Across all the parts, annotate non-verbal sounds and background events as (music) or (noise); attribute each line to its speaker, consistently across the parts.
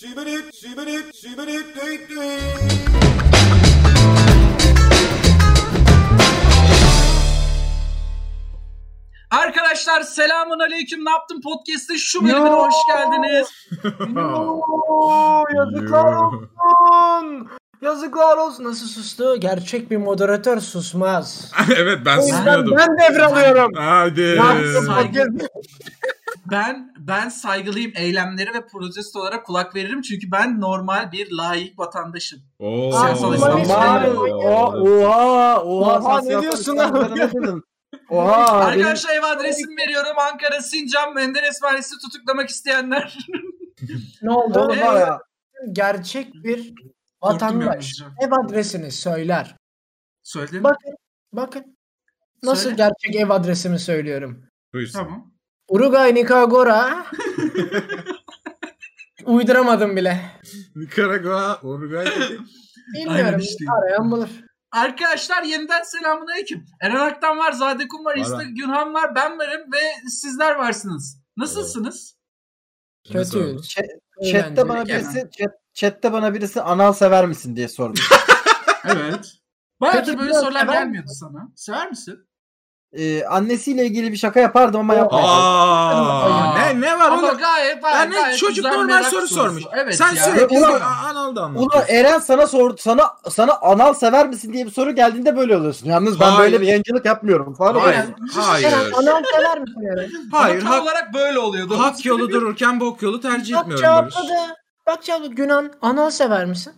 Speaker 1: Sübülüp, sübülüp, sübülüp, düt düt.
Speaker 2: Arkadaşlar selamun aleyküm ne yaptın podcast'te şu bölümüne hoş geldiniz.
Speaker 3: Yoo, Yazıklar olsun. Yazıklar olsun. Nasıl sustu? Gerçek bir moderatör susmaz.
Speaker 4: (laughs) evet ben
Speaker 3: O yüzden
Speaker 4: susmuyordum.
Speaker 3: ben devralıyorum.
Speaker 4: Hadi.
Speaker 3: Yaptım herkes.
Speaker 2: Ben ben saygılıyım eylemleri ve protestolara kulak veririm çünkü ben normal bir layık vatandaşım.
Speaker 4: Oo.
Speaker 2: Siyasal İslam.
Speaker 3: Oha,
Speaker 5: Oha,
Speaker 3: oha, Oha, sen ne siyasal diyorsun İslam lan? karanlıkladın. Oha. benim-
Speaker 2: Arkadaşlar ev adresimi veriyorum Ankara Sincan Menderes Mahallesi tutuklamak isteyenler.
Speaker 3: Ne oldu oğlum
Speaker 2: Evet.
Speaker 3: var ya? Gerçek bir (laughs) vatandaş.
Speaker 2: Korktum ya.
Speaker 3: Ev adresini söyler.
Speaker 2: Söyledim.
Speaker 3: Bak- Bakın. Nasıl
Speaker 2: Söyle.
Speaker 3: gerçek ev adresimi söylüyorum.
Speaker 4: Buyursun.
Speaker 2: Tamam.
Speaker 3: Uruguay, Nikaragua. Uyduramadım bile.
Speaker 4: Nikaragua, Uruguay dedi.
Speaker 3: Bilmiyorum.
Speaker 2: işte.
Speaker 3: Arayan bulur.
Speaker 2: Arkadaşlar yeniden selamun aleyküm. Eren Aktan var, Zade Kum var,
Speaker 4: Var
Speaker 2: İsta
Speaker 4: ben.
Speaker 2: Günhan var, ben varım ve sizler varsınız. Nasılsınız?
Speaker 4: Nasıl
Speaker 3: Kötü.
Speaker 4: oldu?
Speaker 5: Chat'te bana
Speaker 2: Eğlenceli
Speaker 5: birisi chat, chat'te bana birisi anal sever misin diye sormuş.
Speaker 2: Evet. Bayağı
Speaker 3: Peki,
Speaker 2: da böyle
Speaker 3: biraz
Speaker 2: sorular
Speaker 3: sever
Speaker 2: gelmiyordu sana. Sever misin?
Speaker 5: Ee, annesiyle ilgili bir şaka yapardım ama yapmadım.
Speaker 4: Aa,
Speaker 2: Aa.
Speaker 4: ne ne var
Speaker 2: Ama
Speaker 4: oğlum?
Speaker 2: gayet, gayet,
Speaker 4: Yani
Speaker 2: gayet
Speaker 4: çocuk
Speaker 2: güzel
Speaker 4: normal
Speaker 2: merak
Speaker 4: soru sormuş.
Speaker 2: Evet
Speaker 4: Sen
Speaker 2: ya.
Speaker 4: sürekli
Speaker 5: Ulan-
Speaker 4: a- anal da
Speaker 5: Ulan e,
Speaker 4: anlatıyorsun.
Speaker 5: Eren sana sordu sana sana anal sever misin diye bir soru geldiğinde böyle oluyorsun. Yalnız ben
Speaker 4: Hayır.
Speaker 5: böyle bir yayıncılık yapmıyorum falan.
Speaker 4: Hayır.
Speaker 5: oluyorsun.
Speaker 4: Hayır.
Speaker 3: Eren anal sever misin Eren?
Speaker 2: Hayır,
Speaker 4: Hayır.
Speaker 2: tam
Speaker 4: Hak,
Speaker 2: olarak böyle oluyordu.
Speaker 4: hak yolu dururken bok yolu tercih
Speaker 3: Bak
Speaker 4: etmiyorum Barış.
Speaker 3: cevapladı. Bak cevapladı. Günan anal sever misin?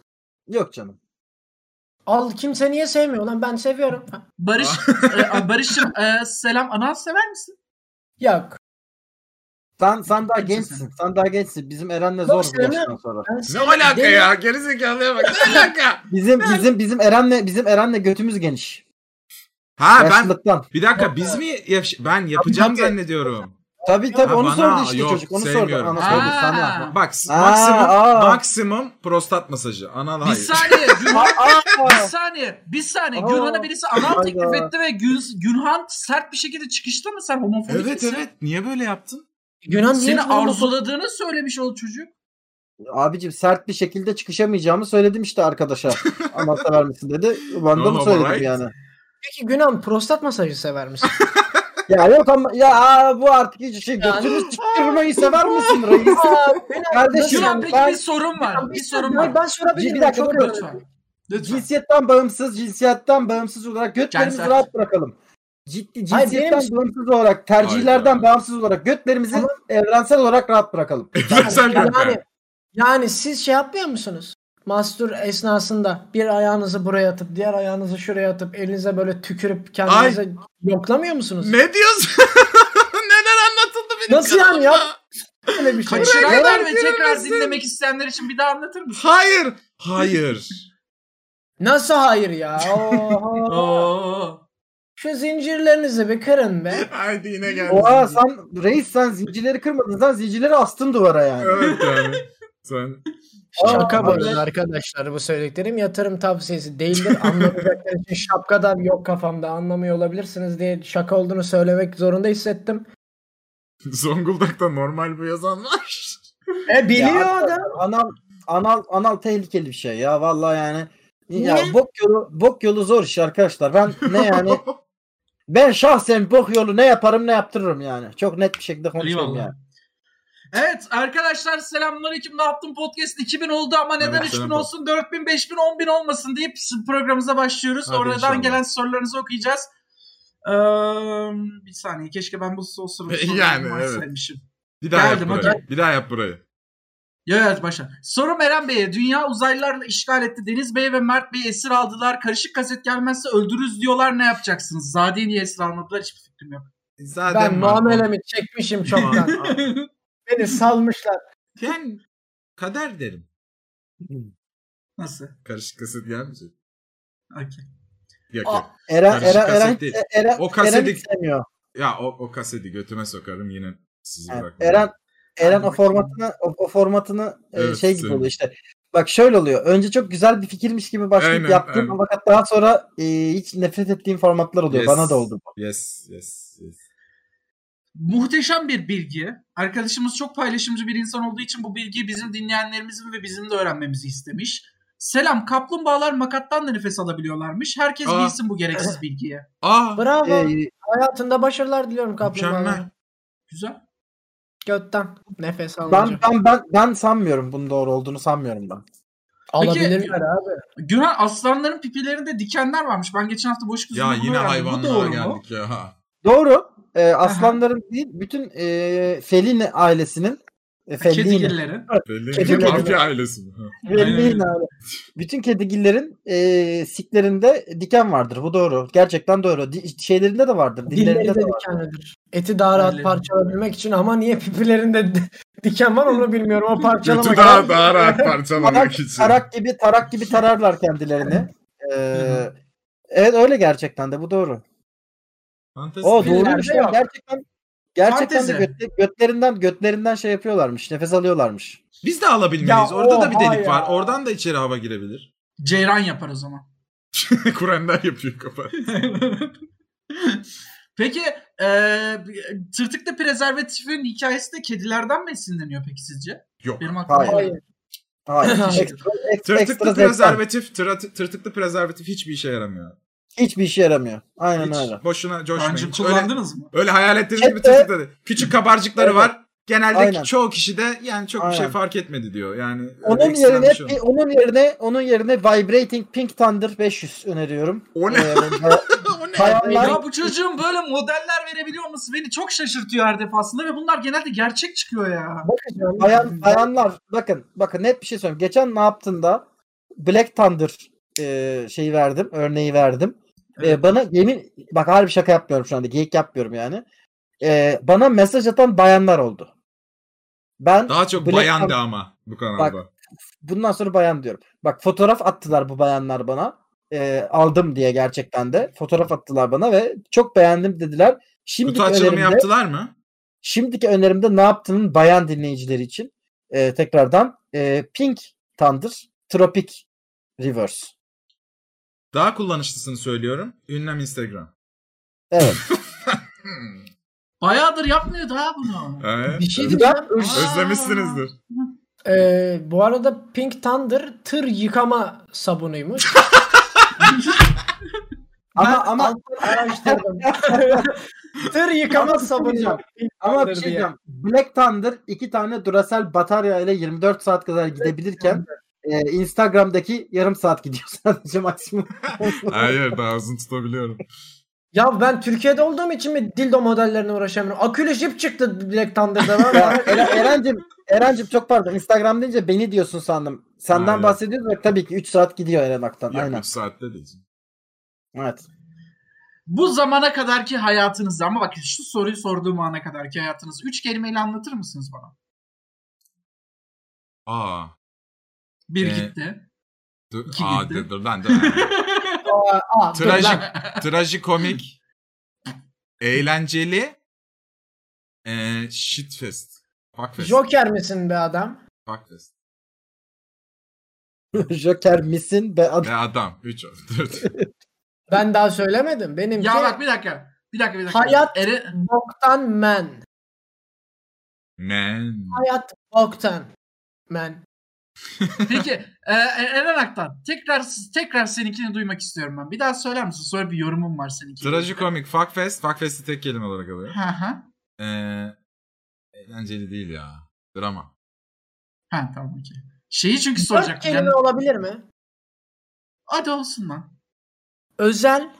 Speaker 5: Yok canım.
Speaker 3: Al kimse niye sevmiyor lan ben seviyorum. Ha,
Speaker 2: Barış, e, Barış'ım e, selam. Anal sever misin?
Speaker 3: Yok.
Speaker 5: Sen sen daha
Speaker 2: Kimsin
Speaker 5: gençsin. Sen daha gençsin. Bizim Eren'le zor bu
Speaker 3: sevmiyorum.
Speaker 5: yaştan sonra.
Speaker 3: Ben
Speaker 4: Ne
Speaker 3: seviyorum.
Speaker 4: alaka
Speaker 3: Değil mi?
Speaker 4: ya? Gerizekalıya bak. Ne alaka?
Speaker 5: Bizim bizim bizim Eren'le bizim Eren'le götümüz geniş.
Speaker 4: Ha ben
Speaker 5: Yaşlılıktan.
Speaker 4: bir dakika biz mi yaş- ben yapacağım
Speaker 5: Tabii, tabii.
Speaker 4: zannediyorum.
Speaker 5: Tabii tabii
Speaker 4: Ha,
Speaker 5: onu
Speaker 4: bana-
Speaker 5: sordu işte
Speaker 4: yok,
Speaker 5: çocuk. Onu sordu.
Speaker 4: sevmiyorum.
Speaker 5: Ana
Speaker 4: Aa.
Speaker 5: sordu sana.
Speaker 4: Bak
Speaker 5: Aa,
Speaker 4: maksimum
Speaker 5: aa.
Speaker 4: maksimum prostat masajı. Anal
Speaker 2: Bir
Speaker 4: hayır.
Speaker 2: saniye. Günhan,
Speaker 5: Aa,
Speaker 2: bir
Speaker 3: (laughs)
Speaker 2: saniye. Bir saniye.
Speaker 5: Aa.
Speaker 2: Günhan'a birisi anal
Speaker 5: Hayda.
Speaker 2: teklif etti ve Gün, Günhan sert bir şekilde çıkıştı mı? Sen homofobik
Speaker 4: Evet
Speaker 2: misin?
Speaker 4: evet. Niye böyle yaptın?
Speaker 3: Günan niye
Speaker 2: Seni
Speaker 3: bu kadar-
Speaker 2: arzuladığını söylemiş o çocuk.
Speaker 5: Abicim sert bir şekilde çıkışamayacağımı söyledim işte arkadaşa. Ama sever misin dedi. Ben de
Speaker 4: Tamam,
Speaker 5: mi söyledim
Speaker 4: alright.
Speaker 5: yani?
Speaker 3: Peki Günan prostat masajı sever misin?
Speaker 5: Ya yok ama ya aa, bu artık hiç şey götümüz çıktırmayı sever misin reis?
Speaker 3: Aa, Günan,
Speaker 5: Kardeşim,
Speaker 3: nasıl
Speaker 2: Günhan
Speaker 3: yani?
Speaker 2: peki
Speaker 5: ben-
Speaker 2: bir sorun var. Bir sorun
Speaker 3: Ben,
Speaker 2: var.
Speaker 3: ben sorabilir
Speaker 5: Bir
Speaker 3: miyim?
Speaker 5: dakika,
Speaker 3: Çok
Speaker 5: dur.
Speaker 3: özür dilerim.
Speaker 2: Lütfen. Lütfen.
Speaker 5: Cinsiyetten bağımsız, cinsiyetten bağımsız olarak götlerimizi
Speaker 2: Cinsel.
Speaker 5: rahat bırakalım. Ciddi
Speaker 3: Hayır,
Speaker 5: cinsiyetten
Speaker 3: benim-
Speaker 5: bağımsız olarak, tercihlerden
Speaker 4: Hayda.
Speaker 5: bağımsız olarak götlerimizi
Speaker 3: Ama-
Speaker 5: evrensel olarak rahat bırakalım.
Speaker 4: Evrensel
Speaker 3: Yani,
Speaker 4: gökler.
Speaker 3: yani, yani siz şey yapmıyor musunuz? Mastür esnasında bir ayağınızı buraya atıp diğer ayağınızı şuraya atıp elinize böyle tükürüp kendinize yoklamıyor musunuz?
Speaker 4: Ne diyorsun? (laughs) Neler anlatıldı benim
Speaker 3: Nasıl yani ya?
Speaker 4: kanalımda?
Speaker 3: Öyle bir şey.
Speaker 2: Kaçıranlar
Speaker 4: Neden
Speaker 2: ve tekrar
Speaker 4: görmesin?
Speaker 2: dinlemek isteyenler için bir daha anlatır mısın?
Speaker 4: Hayır. Hayır.
Speaker 3: Nasıl hayır ya? Oho.
Speaker 2: Oo.
Speaker 3: Şu zincirlerinizi bir kırın be.
Speaker 4: Haydi yine geldi.
Speaker 5: Oha sen reis sen zincirleri kırmadın sen zincirleri astın duvara yani.
Speaker 4: Evet yani. Sen
Speaker 3: Şaka
Speaker 5: Aa,
Speaker 3: bu
Speaker 5: evet.
Speaker 3: arada arkadaşlar bu söylediklerim yatırım tavsiyesi değildir. Anlamayacaklar için şapkadan yok kafamda anlamıyor olabilirsiniz diye şaka olduğunu söylemek zorunda hissettim.
Speaker 4: Zonguldak'ta normal bu yazan var.
Speaker 3: E biliyor
Speaker 5: Ya,
Speaker 3: adam.
Speaker 5: Anal anal anal tehlikeli bir şey ya vallahi yani. Ya
Speaker 3: Niye?
Speaker 5: bok yolu bok yolu zor iş arkadaşlar. Ben ne yani ben şahsen bok yolu ne yaparım ne yaptırırım yani. Çok net bir şekilde konuşuyorum
Speaker 2: Eyvallah.
Speaker 5: yani.
Speaker 2: Evet arkadaşlar selamünaleyküm. Ne yaptın podcast 2000 oldu ama neden
Speaker 4: Evet,
Speaker 2: 3000
Speaker 4: selam.
Speaker 2: olsun 4000 5000 10000 olmasın deyip programımıza başlıyoruz.
Speaker 4: Hadi
Speaker 2: Oradan
Speaker 4: inşallah.
Speaker 2: gelen sorularınızı okuyacağız. Ee, bir saniye keşke ben bu
Speaker 4: (laughs)
Speaker 2: soru sorularını
Speaker 4: Yani,
Speaker 2: varsaymışım.
Speaker 4: Bir daha
Speaker 2: Geldim,
Speaker 4: yap burayı.
Speaker 2: hadi.
Speaker 4: Bir daha yap burayı.
Speaker 2: Yok evet başla. Sorum Eren Bey'e. Dünya uzaylılarla işgal etti. Deniz Bey ve Mert Bey'i esir aldılar. Karışık kaset gelmezse öldürürüz diyorlar. Ne yapacaksınız? Zade'yi niye esir almadılar? Hiçbir fikrim yok.
Speaker 4: Zaten
Speaker 3: Ben muamelemi çekmişim çoktan. Beni salmışlar.
Speaker 4: Ben kader derim.
Speaker 2: Nasıl?
Speaker 4: Karışık kaset gelmeyecek.
Speaker 2: Okey.
Speaker 4: Yok
Speaker 5: Aa.
Speaker 4: yok.
Speaker 5: Eren
Speaker 4: Karışık
Speaker 5: Eren Eren
Speaker 4: kaset değil.
Speaker 5: Eren
Speaker 4: O
Speaker 5: Eren
Speaker 4: kaseti-
Speaker 5: hiç sevmiyor.
Speaker 4: Ya o, o kaseti götüme sokarım yine sizi
Speaker 5: Yani
Speaker 4: bırakmam.
Speaker 5: Eren Eren o
Speaker 2: Hadi
Speaker 5: formatını o, o formatını e,
Speaker 4: Evet,
Speaker 5: şey gibi
Speaker 4: sevmiyorum.
Speaker 5: oluyor işte. Bak şöyle oluyor. Önce çok güzel bir fikirmiş gibi başlayıp
Speaker 4: Aynen,
Speaker 5: yaptım
Speaker 4: aynen.
Speaker 5: fakat daha sonra e, hiç nefret ettiğim formatlar oluyor.
Speaker 4: Yes.
Speaker 5: Bana da oldu.
Speaker 4: Yes, yes, yes.
Speaker 2: muhteşem bir bilgi. Arkadaşımız çok paylaşımcı bir insan olduğu için bu bilgiyi bizim dinleyenlerimizin ve bizim de öğrenmemizi istemiş. Selam kaplumbağalar makattan da nefes alabiliyorlarmış. Herkes
Speaker 4: Aa.
Speaker 2: bilsin
Speaker 4: (laughs)
Speaker 2: bu gereksiz bilgiye.
Speaker 4: Aa
Speaker 3: Bravo.
Speaker 5: Ee,
Speaker 3: Hayatında başarılar diliyorum kaplumbağalara.
Speaker 4: mükemmel.
Speaker 2: Güzel.
Speaker 3: Götten nefes alınca.
Speaker 5: ben, ben, ben, ben sanmıyorum bunun doğru olduğunu sanmıyorum ben.
Speaker 3: Alabilirler abi.
Speaker 2: Güven aslanların pipilerinde dikenler varmış. Ben geçen hafta boş
Speaker 4: Ya
Speaker 2: kızımla bunu
Speaker 4: yine
Speaker 2: öğrendim. Bu
Speaker 4: hayvanlığa
Speaker 2: doğru mu?
Speaker 4: geldik ya. Ha.
Speaker 5: Doğru. Ee, aslanların değil bütün e, felini ailesinin e,
Speaker 2: Ha,
Speaker 5: felini,
Speaker 2: Kedigilleri.
Speaker 4: Belli
Speaker 5: Kedi
Speaker 4: mi?
Speaker 5: kedi.
Speaker 4: Mafya ailesi
Speaker 5: (laughs)
Speaker 4: mi? Ha.
Speaker 5: felini aile. Bütün kedigillerin e, siklerinde diken vardır. Bu doğru. Gerçekten doğru. Di- şeylerinde de vardır.
Speaker 3: Dilleri
Speaker 5: Dillerinde de
Speaker 3: de
Speaker 5: vardır.
Speaker 3: dikenlidir. Eti daha rahat
Speaker 2: Elleri.
Speaker 3: parçalayabilmek için ama niye pipilerinde (laughs) di- diken var onu bilmiyorum. O parçalama.
Speaker 4: Götü daha, daha
Speaker 3: (laughs)
Speaker 4: rahat parçalamak için.
Speaker 5: Tarak gibi tarak gibi tararlar kendilerini. Ee, evet öyle gerçekten de bu doğru.
Speaker 4: Fantezi.
Speaker 5: O
Speaker 2: Filler de
Speaker 4: şey
Speaker 5: doğruymuş ya.
Speaker 2: yok.
Speaker 5: Gerçekten gerçekten de
Speaker 2: Fantezi.
Speaker 5: götle- götlerinden götlerinden şey yapıyorlarmış. Nefes alıyorlarmış.
Speaker 4: (laughs) Biz de alabilmeliyiz.
Speaker 3: Ya
Speaker 4: Orada da bir
Speaker 3: oha
Speaker 4: delik
Speaker 3: ya.
Speaker 4: var. Oradan da içeri hava girebilir. (laughs)
Speaker 2: Ceyran yapar o zaman.
Speaker 4: Kurenler yapıyor kafa.
Speaker 2: peki eee tırtıklı prezervatifin hikayesi de kedilerden mi esinleniyor peki sizce?
Speaker 4: Yok.
Speaker 2: Benim aklıma
Speaker 5: Hayır.
Speaker 2: geliyor.
Speaker 5: Hayır.
Speaker 3: Hayır.
Speaker 5: ekstra,
Speaker 4: (laughs)
Speaker 5: ekstra,
Speaker 4: Tırtıklı
Speaker 5: ekstra zevkten.
Speaker 4: prezervatif, tırtı- tırtıklı prezervatif hiçbir işe yaramıyor.
Speaker 5: Hiçbir işe yaramıyor. Aynen
Speaker 4: Hiç
Speaker 5: öyle.
Speaker 4: boşuna
Speaker 2: Bence
Speaker 4: coşmayın. Öyle,
Speaker 2: kullandınız mı?
Speaker 4: öyle hayal ettiğiniz gibi
Speaker 5: Çete-
Speaker 4: tırtıklı. değil. Küçük kabarcıkları
Speaker 5: Evet.
Speaker 4: var. Genelde
Speaker 5: Aynen.
Speaker 4: çoğu kişi de yani çok bir şey
Speaker 5: Aynen.
Speaker 4: fark etmedi diyor. Yani öyle
Speaker 5: Onun
Speaker 4: eksilen
Speaker 5: yerine
Speaker 4: bir şey yok.
Speaker 5: onun yerine onun yerine Vibrating Pink Thunder 500 öneriyorum.
Speaker 4: o ne?
Speaker 5: Ee,
Speaker 4: o ne?
Speaker 5: hayvanlar-
Speaker 2: Ya bu çocuğun böyle modeller verebiliyor olması beni çok şaşırtıyor her defasında ve bunlar genelde gerçek çıkıyor ya.
Speaker 3: Bakacağım.
Speaker 5: Bayan, bayanlar bakın bakın net bir şey söyleyeyim. Geçen ne yaptığında Black Thunder e, şeyi verdim. Örneği verdim. E, bana yemin bak harbi şaka yapmıyorum şu anda. Geyik yapmıyorum yani. E, bana mesaj atan bayanlar oldu. Ben
Speaker 4: Daha çok
Speaker 5: Black
Speaker 4: bayandı
Speaker 5: Panther-
Speaker 4: ama bu kanalda.
Speaker 5: bundan sonra bayan diyorum. Bak fotoğraf attılar bu bayanlar bana. E, aldım diye gerçekten de. Fotoğraf attılar bana ve çok beğendim dediler. Şimdiki
Speaker 4: Kutu açılımı
Speaker 5: önerimde,
Speaker 4: yaptılar mı?
Speaker 5: şimdiki önerimde ne yaptığının bayan dinleyicileri için e, tekrardan e, Pink Thunder Tropic Reverse.
Speaker 4: Daha kullanışlısını söylüyorum. Ünlem Instagram.
Speaker 5: Evet.
Speaker 4: Hmm.
Speaker 2: Bayağıdır yapmıyordu ha bunu.
Speaker 4: Ee,
Speaker 3: Bir şey
Speaker 5: Ben-
Speaker 3: diyeceğim.
Speaker 4: (laughs) Özlemişsinizdir.
Speaker 3: Ee, bu arada Pink Thunder tır yıkama
Speaker 2: (laughs)
Speaker 3: sabunuymuş.
Speaker 5: Ama ama
Speaker 2: (laughs)
Speaker 3: Araştırdım. tır yıkama sabunu.
Speaker 5: ama
Speaker 3: Thunder
Speaker 5: bir şey
Speaker 3: diye.
Speaker 5: diyeceğim. Black Thunder iki tane Duracell batarya ile 24 saat kadar gidebilirken e, Instagram'daki yarım saat gidiyor (laughs) sadece maksimum.
Speaker 4: Hayır daha uzun tutabiliyorum.
Speaker 3: Ya ben Türkiye'de olduğum için mi dildo modellerine uğraşamıyorum? Akülü jip çıktı Black Thunder'da.
Speaker 5: Ya,
Speaker 3: Ben-
Speaker 5: Eren- Erencim Erencim çok pardon. Instagram deyince beni diyorsun sandım. Senden
Speaker 4: Hayır.
Speaker 5: bahsediyoruz ve tabii ki 3 saat gidiyor Eren Ak'tan.
Speaker 4: Yakın
Speaker 5: (laughs) Aynen.
Speaker 4: saatte değil.
Speaker 5: Evet.
Speaker 2: Bu zamana kadarki hayatınızda ama bak şu soruyu sorduğum ana kadarki hayatınızı üç kelimeyle anlatır mısınız bana?
Speaker 4: Aa.
Speaker 2: Bir
Speaker 4: Ee,
Speaker 2: gitti.
Speaker 4: Dur,
Speaker 2: İki
Speaker 4: aa
Speaker 2: gitti.
Speaker 4: dur, dur lan dur.
Speaker 3: Aa, dur lan.
Speaker 4: Trajik, trajikomik, eğlenceli, ee, shitfest. Fuckfest.
Speaker 3: Joker misin be adam?
Speaker 4: Fuckfest.
Speaker 5: (laughs) Joker misin be adam?
Speaker 4: Ve adam. Üç oldu. Dört.
Speaker 5: (laughs)
Speaker 3: Ben daha söylemedim. Benimki
Speaker 2: ya bak bir dakika. Bir dakika bir dakika.
Speaker 3: Hayat-
Speaker 2: Ere-
Speaker 3: boktan men.
Speaker 4: Man.
Speaker 3: Hayat boktan men.
Speaker 2: Peki e, e, Eren Aktan tekrar tekrar seninkini duymak istiyorum ben. Bir daha söyler misin? Sonra bir yorumum var seninkine.
Speaker 4: Trajikomik, fuckfest. Fuckfest'i tek kelime olarak alıyorum.
Speaker 2: Ha ha.
Speaker 4: Ee, eğlenceli değil ya. Drama.
Speaker 2: Ha tamam okey. Şeyi çünkü
Speaker 3: Dört
Speaker 2: şey soracak.
Speaker 3: kelime
Speaker 2: Yani,
Speaker 3: olabilir mi?
Speaker 2: hadi olsun lan.
Speaker 3: Özel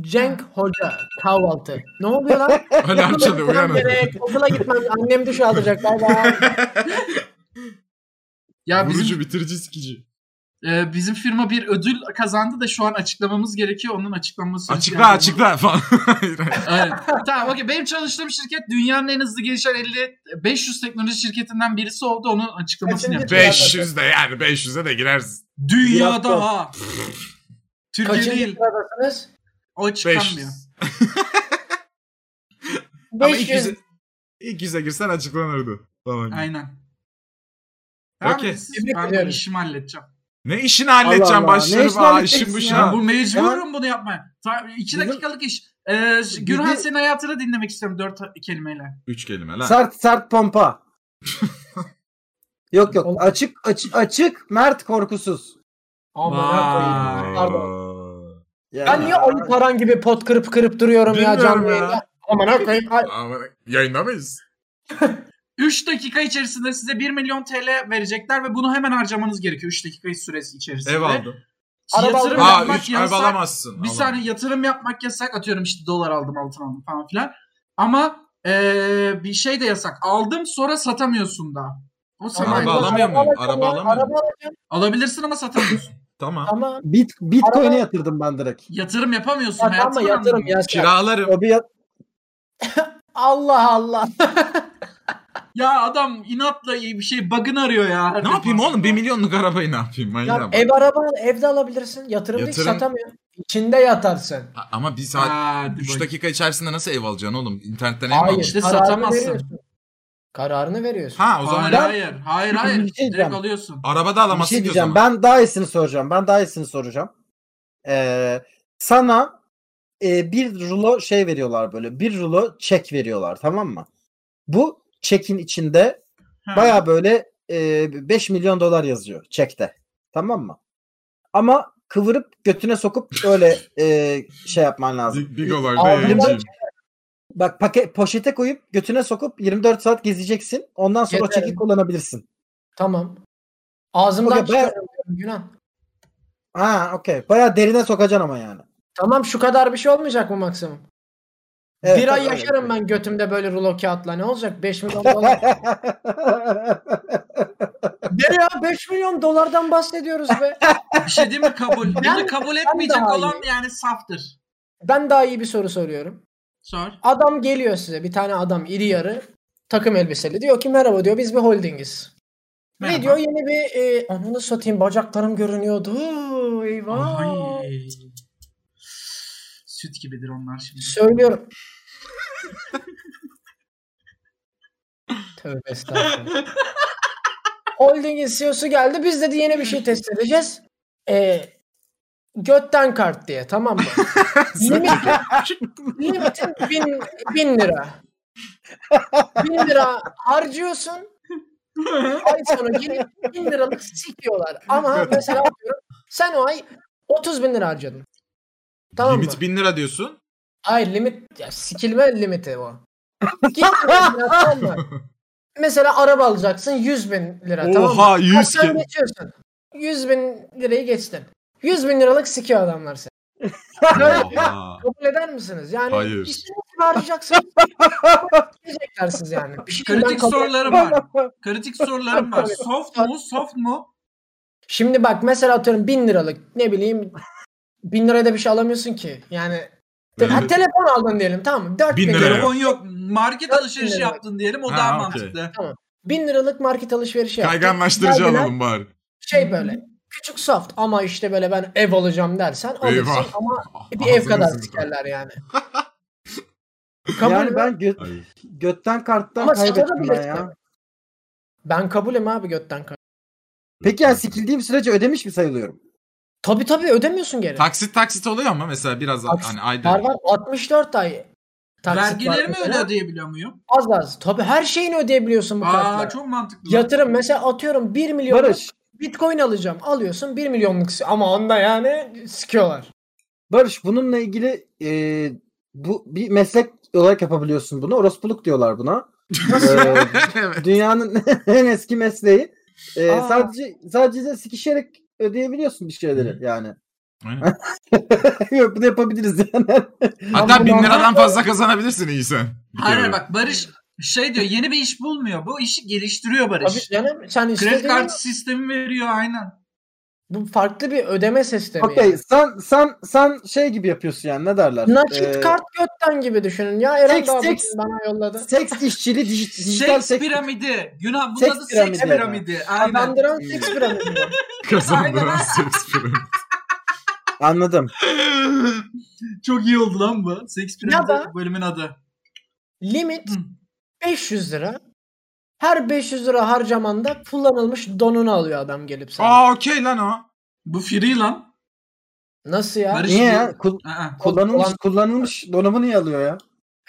Speaker 3: Cenk Hoca kahvaltı. Ne oluyor lan?
Speaker 4: Alarm çalıyor
Speaker 3: Gitmem
Speaker 4: uyanın.
Speaker 3: gerek. Okula gitmem. Annem duş alacak.
Speaker 4: (laughs)
Speaker 3: Bay bay.
Speaker 2: Ya bizim
Speaker 4: Vurucu, bitirici, sikici.
Speaker 2: e, bizim firma bir ödül kazandı da şu an açıklamamız gerekiyor. Onun açıklaması.
Speaker 4: Açıkla açıkla (laughs) falan.
Speaker 2: Evet. tamam okey. Benim çalıştığım şirket dünyanın en hızlı gelişen 50 500 teknoloji şirketinden birisi oldu. Onun açıklamasını
Speaker 3: Kaçıncı
Speaker 2: yapacağım.
Speaker 4: 500 de yani 500'e de girersin.
Speaker 2: Dünyada ha. Türkiye
Speaker 3: Kaçıncı
Speaker 2: değil.
Speaker 3: sıradasınız?
Speaker 2: O açıklanmıyor.
Speaker 4: 500. Ama ilk
Speaker 3: 500.
Speaker 4: yüze, ilk yüze girsen açıklanırdı. Tamam.
Speaker 2: Aynen.
Speaker 4: Okey.
Speaker 2: Tamam biz-
Speaker 3: Tebrik
Speaker 2: Ben bu
Speaker 3: ediyorum.
Speaker 2: işimi halledeceğim.
Speaker 4: Ne işini halledeceğim
Speaker 5: Allah Allah, ne
Speaker 4: başlarım aa
Speaker 5: işini
Speaker 4: işim bu
Speaker 5: halledeceksin
Speaker 4: şu
Speaker 5: ya?
Speaker 2: Ben
Speaker 4: an.
Speaker 2: bu mecburum bunu yapmaya. Ta, iki
Speaker 5: Bizim-
Speaker 2: dakikalık iş. Ee, ş- Gürhan
Speaker 5: de-
Speaker 2: senin hayatını dinlemek istiyorum dört ha- kelimeyle.
Speaker 4: Üç kelime lan.
Speaker 5: Sert sert pompa. yok yok.
Speaker 3: Oğlum.
Speaker 5: Açık açık açık Mert korkusuz.
Speaker 3: Aman
Speaker 2: Vay.
Speaker 3: Allah'ım, Pardon.
Speaker 5: Yani,
Speaker 3: Ben niye Ali Paran gibi pot kırıp kırıp duruyorum ya
Speaker 4: Bilmiyorum
Speaker 3: canlı
Speaker 4: ya.
Speaker 3: yayında? Aman koyayım. Ay,
Speaker 4: Ama yayında mıyız?
Speaker 2: 3 dakika içerisinde size 1 milyon TL verecekler ve bunu hemen harcamanız gerekiyor 3 dakika süresi içerisinde.
Speaker 4: Ev aldım.
Speaker 3: Araba
Speaker 2: Yatırım
Speaker 3: aldım.
Speaker 4: Ha
Speaker 2: yapmak
Speaker 4: üç ev
Speaker 2: yasak.
Speaker 4: alamazsın.
Speaker 2: Bir
Speaker 4: Alamam.
Speaker 2: saniye yatırım yapmak yasak. Atıyorum işte dolar aldım altın aldım falan filan. Ama eee, bir şey de yasak. Aldım sonra satamıyorsun da. O senin
Speaker 4: Araba
Speaker 2: ayrı-
Speaker 4: alamam. alamıyor muyum? Araba alamıyor
Speaker 3: Araba
Speaker 4: muyum?
Speaker 3: alacağım
Speaker 2: Alabilirsin ama
Speaker 4: (laughs)
Speaker 2: satamıyorsun.
Speaker 4: Tamam.
Speaker 3: ama.
Speaker 5: Bit, Bitcoin'e
Speaker 3: Araba-
Speaker 5: yatırdım ben direkt.
Speaker 2: yatırım yapamıyorsun.
Speaker 3: Ya,
Speaker 2: hayatın
Speaker 3: ama yatırım
Speaker 2: anlamı.
Speaker 3: ya.
Speaker 4: Kiralarım.
Speaker 5: O bir yat-
Speaker 3: Allah Allah.
Speaker 2: Ya adam inatla iyi bir şey bug'ını arıyor ya. her
Speaker 4: Ne yapayım
Speaker 2: defasında.
Speaker 4: oğlum? Bir milyonluk arabayı ne yapayım? Manyağa
Speaker 3: Ya,
Speaker 4: bak.
Speaker 3: ev araba al, evde alabilirsin. Yatırım, değil
Speaker 4: Yatırım-
Speaker 3: satamıyor. İçinde yatarsın.
Speaker 4: Ha, Ama bir saat
Speaker 2: Hadi
Speaker 4: 3
Speaker 2: bak.
Speaker 4: dakika içerisinde nasıl ev alacaksın oğlum? İnternetten ev mi
Speaker 3: Hayır.
Speaker 4: alacaksın?
Speaker 2: işte
Speaker 3: kararını
Speaker 2: satamazsın.
Speaker 3: veriyorsun. Kararını veriyorsun.
Speaker 4: Ha o zaman
Speaker 2: Hayır hayır. Hayır hayır.
Speaker 5: Bir şey diyeceğim.
Speaker 2: Direkt alıyorsun.
Speaker 4: arabada
Speaker 5: bir
Speaker 4: alamazsın
Speaker 5: şey
Speaker 4: ki o
Speaker 5: diyeceğim.
Speaker 4: zaman.
Speaker 5: Ben daha iyisini soracağım. Ben daha iyisini soracağım. Ee, sana e, bir rulo şey veriyorlar böyle. Bir rulo çek veriyorlar tamam mı? Bu çekin içinde
Speaker 2: Ha.
Speaker 5: baya böyle e, 5 milyon dolar yazıyor çekte. Tamam mı? Ama kıvırıp götüne sokup öyle e, şey
Speaker 4: (laughs)
Speaker 5: yapman lazım.
Speaker 4: Big olayda
Speaker 5: Abi,
Speaker 4: yayıncıyım.
Speaker 5: Bak paket poşete koyup götüne sokup 24 saat gezeceksin. Ondan sonra o
Speaker 3: Gezerim.
Speaker 5: çeki kullanabilirsin.
Speaker 3: Tamam. Ağzımdan
Speaker 5: Okey, ben-
Speaker 3: çıkarıyorum günah.
Speaker 5: Ha okey. Baya derine sokacaksın ama yani.
Speaker 3: Tamam şu kadar bir şey olmayacak mı maksimum?
Speaker 5: Evet,
Speaker 3: bir ay
Speaker 5: evet,
Speaker 3: yaşarım
Speaker 5: evet.
Speaker 3: ben götümde böyle rulo kağıtla. Ne olacak? 5 milyon
Speaker 5: (laughs)
Speaker 3: dolar. ne ya 5 milyon dolardan bahsediyoruz be.
Speaker 2: Bir şey değil mi kabul? Bunu kabul etmeyecek
Speaker 3: daha
Speaker 2: olan yani saftır.
Speaker 3: Ben daha iyi bir soru soruyorum.
Speaker 2: Sor.
Speaker 3: Adam geliyor size. Bir tane adam iri yarı takım elbiseli. Diyor ki merhaba diyor biz bir holdingiz.
Speaker 2: Merhaba.
Speaker 3: Ne diyor yeni bir e, ananı satayım bacaklarım görünüyordu. Huu, Eyvah.
Speaker 2: Ay. Süt gibidir onlar şimdi.
Speaker 3: Söylüyorum. Tövbe estağfurullah. Holding'in CEO'su geldi. Biz dedi yeni bir şey test edeceğiz. Ee, götten kart diye tamam mı? Limit, limitin bin, bin lira. Bin lira harcıyorsun. Ay sonu gelip bin liralık sikiyorlar. Ama mesela diyorum, sen o ay 30 bin lira harcadın. Tamam mı?
Speaker 4: Limit 1000 lira diyorsun.
Speaker 3: Hayır limit ya sikilme limiti o. Git mesela,
Speaker 4: (laughs)
Speaker 3: tamam mı? Mesela araba alacaksın 100 bin lira tamam mı?
Speaker 4: Oha 100
Speaker 3: Sen
Speaker 4: ki.
Speaker 3: geçiyorsun. 100 bin lirayı geçtin. 100 bin liralık sikiyor adamlar seni.
Speaker 4: Oha.
Speaker 3: Kabul eder misiniz? Yani
Speaker 4: Hayır.
Speaker 3: işini
Speaker 4: (laughs)
Speaker 3: harcayacaksınız. Diyecekler siz yani. Bir şeyden
Speaker 2: Kritik
Speaker 3: kabul-
Speaker 2: sorularım var. Kritik sorularım
Speaker 3: (laughs)
Speaker 2: var. Soft mu? Soft mu?
Speaker 3: Şimdi bak mesela atıyorum 1000 liralık ne bileyim 1000 liraya da bir şey alamıyorsun ki. Yani
Speaker 4: Evet.
Speaker 3: ha, telefon aldın diyelim tamam mı? 4000
Speaker 4: Bin
Speaker 3: lira.
Speaker 4: liraya.
Speaker 2: Telefon yok. Market
Speaker 3: Yok,
Speaker 2: alışverişi
Speaker 3: bilmiyorum.
Speaker 2: yaptın diyelim. O
Speaker 4: Ha,
Speaker 2: daha
Speaker 4: okey.
Speaker 2: mantıklı.
Speaker 3: 1000 liralık market alışverişi yaptın.
Speaker 4: Kayganlaştırıcı
Speaker 3: Geldiler,
Speaker 4: alalım bari.
Speaker 3: şey böyle küçük soft ama işte böyle ben ev alacağım dersen alırsın
Speaker 4: Eyvah.
Speaker 3: ama bir ev
Speaker 4: Ağzını
Speaker 3: kadar
Speaker 4: sıkı. (laughs)
Speaker 3: sikerler yani. Kabul ben,
Speaker 5: yani ben gö-
Speaker 4: Hayır.
Speaker 5: götten karttan
Speaker 3: Ama
Speaker 5: kaybettim ben
Speaker 3: satabilirsin.
Speaker 5: ya.
Speaker 3: ben kabulüm abi götten kar.
Speaker 5: Peki yani sikildiğim sürece ödemiş mi sayılıyorum?
Speaker 3: Tabi tabi ödemiyorsun geri.
Speaker 4: Taksit taksit oluyor ama mesela biraz
Speaker 3: Taksit
Speaker 4: hani
Speaker 3: Var
Speaker 4: ayda.
Speaker 3: var 64 ay. taksit var
Speaker 2: Vergileri mi
Speaker 3: mesela.
Speaker 2: ödeyebiliyor muyum?
Speaker 3: Az az. Tabi her şeyini ödeyebiliyorsun bu kartla.
Speaker 2: Aa çok mantıklı.
Speaker 3: Yatırım mesela atıyorum 1 milyon
Speaker 5: Barış,
Speaker 3: bitcoin alacağım. Alıyorsun 1 milyonluk si- ama onda yani sikiyorlar.
Speaker 5: Barış bununla ilgili e, bu bir meslek olarak yapabiliyorsun bunu. Orospuluk diyorlar buna. Ee,
Speaker 4: evet.
Speaker 5: dünyanın (laughs) en eski mesleği. Ee,
Speaker 3: Aa.
Speaker 5: sadece sadece sikişerek ödeyebiliyorsun bir şeyleri yani. (laughs)
Speaker 4: Aynen.
Speaker 5: Yok bunu yapabiliriz yani.
Speaker 4: Hatta
Speaker 3: Ama
Speaker 4: bin
Speaker 3: bu-
Speaker 4: liradan fazla kazanabilirsin iyi sen. Bir
Speaker 2: Hayır
Speaker 4: (laughs) kere.
Speaker 2: hayır, bak Barış şey diyor yeni bir iş bulmuyor. Bu işi geliştiriyor
Speaker 3: Abi
Speaker 2: Barış.
Speaker 3: canım sen
Speaker 2: Kredi
Speaker 3: istediğin
Speaker 2: kartı sistemi veriyor aynen.
Speaker 3: bu farklı bir ödeme sistemi. yani.
Speaker 5: Okey sen sen sen şey gibi yapıyorsun yani ne derler?
Speaker 3: Nakit
Speaker 5: Ee,
Speaker 3: kart götten gibi düşünün ya. Eren
Speaker 5: seks,
Speaker 3: daha bugün
Speaker 5: seks.
Speaker 3: bana yolladı.
Speaker 5: Seks işçiliği dij- dijital
Speaker 2: Seks
Speaker 5: seks.
Speaker 2: Şey piramidi. Günah bunun
Speaker 5: Seks
Speaker 2: adı seks
Speaker 5: piramidi.
Speaker 2: piramidi. Aynen.
Speaker 3: Kandıran seks piramidi. bu.
Speaker 4: Kazandıran
Speaker 2: Aynen.
Speaker 4: seks (laughs) piramidi. (laughs)
Speaker 5: Anladım.
Speaker 2: (laughs) Çok iyi oldu lan bu. Seks
Speaker 3: Ya
Speaker 2: piramidi
Speaker 3: da-
Speaker 2: bölümün adı.
Speaker 3: Limit
Speaker 2: Hı.
Speaker 3: 500 lira. Her 500 lira harcamanda kullanılmış donunu alıyor adam gelip sana.
Speaker 4: Aa okey lan o.
Speaker 2: Bu free lan.
Speaker 3: Nasıl ya?
Speaker 2: Barış
Speaker 5: Niye
Speaker 2: diyor.
Speaker 5: ya? Kul-
Speaker 2: Aa,
Speaker 5: kullanılmış, kullanılmış donanımı niye alıyor ya?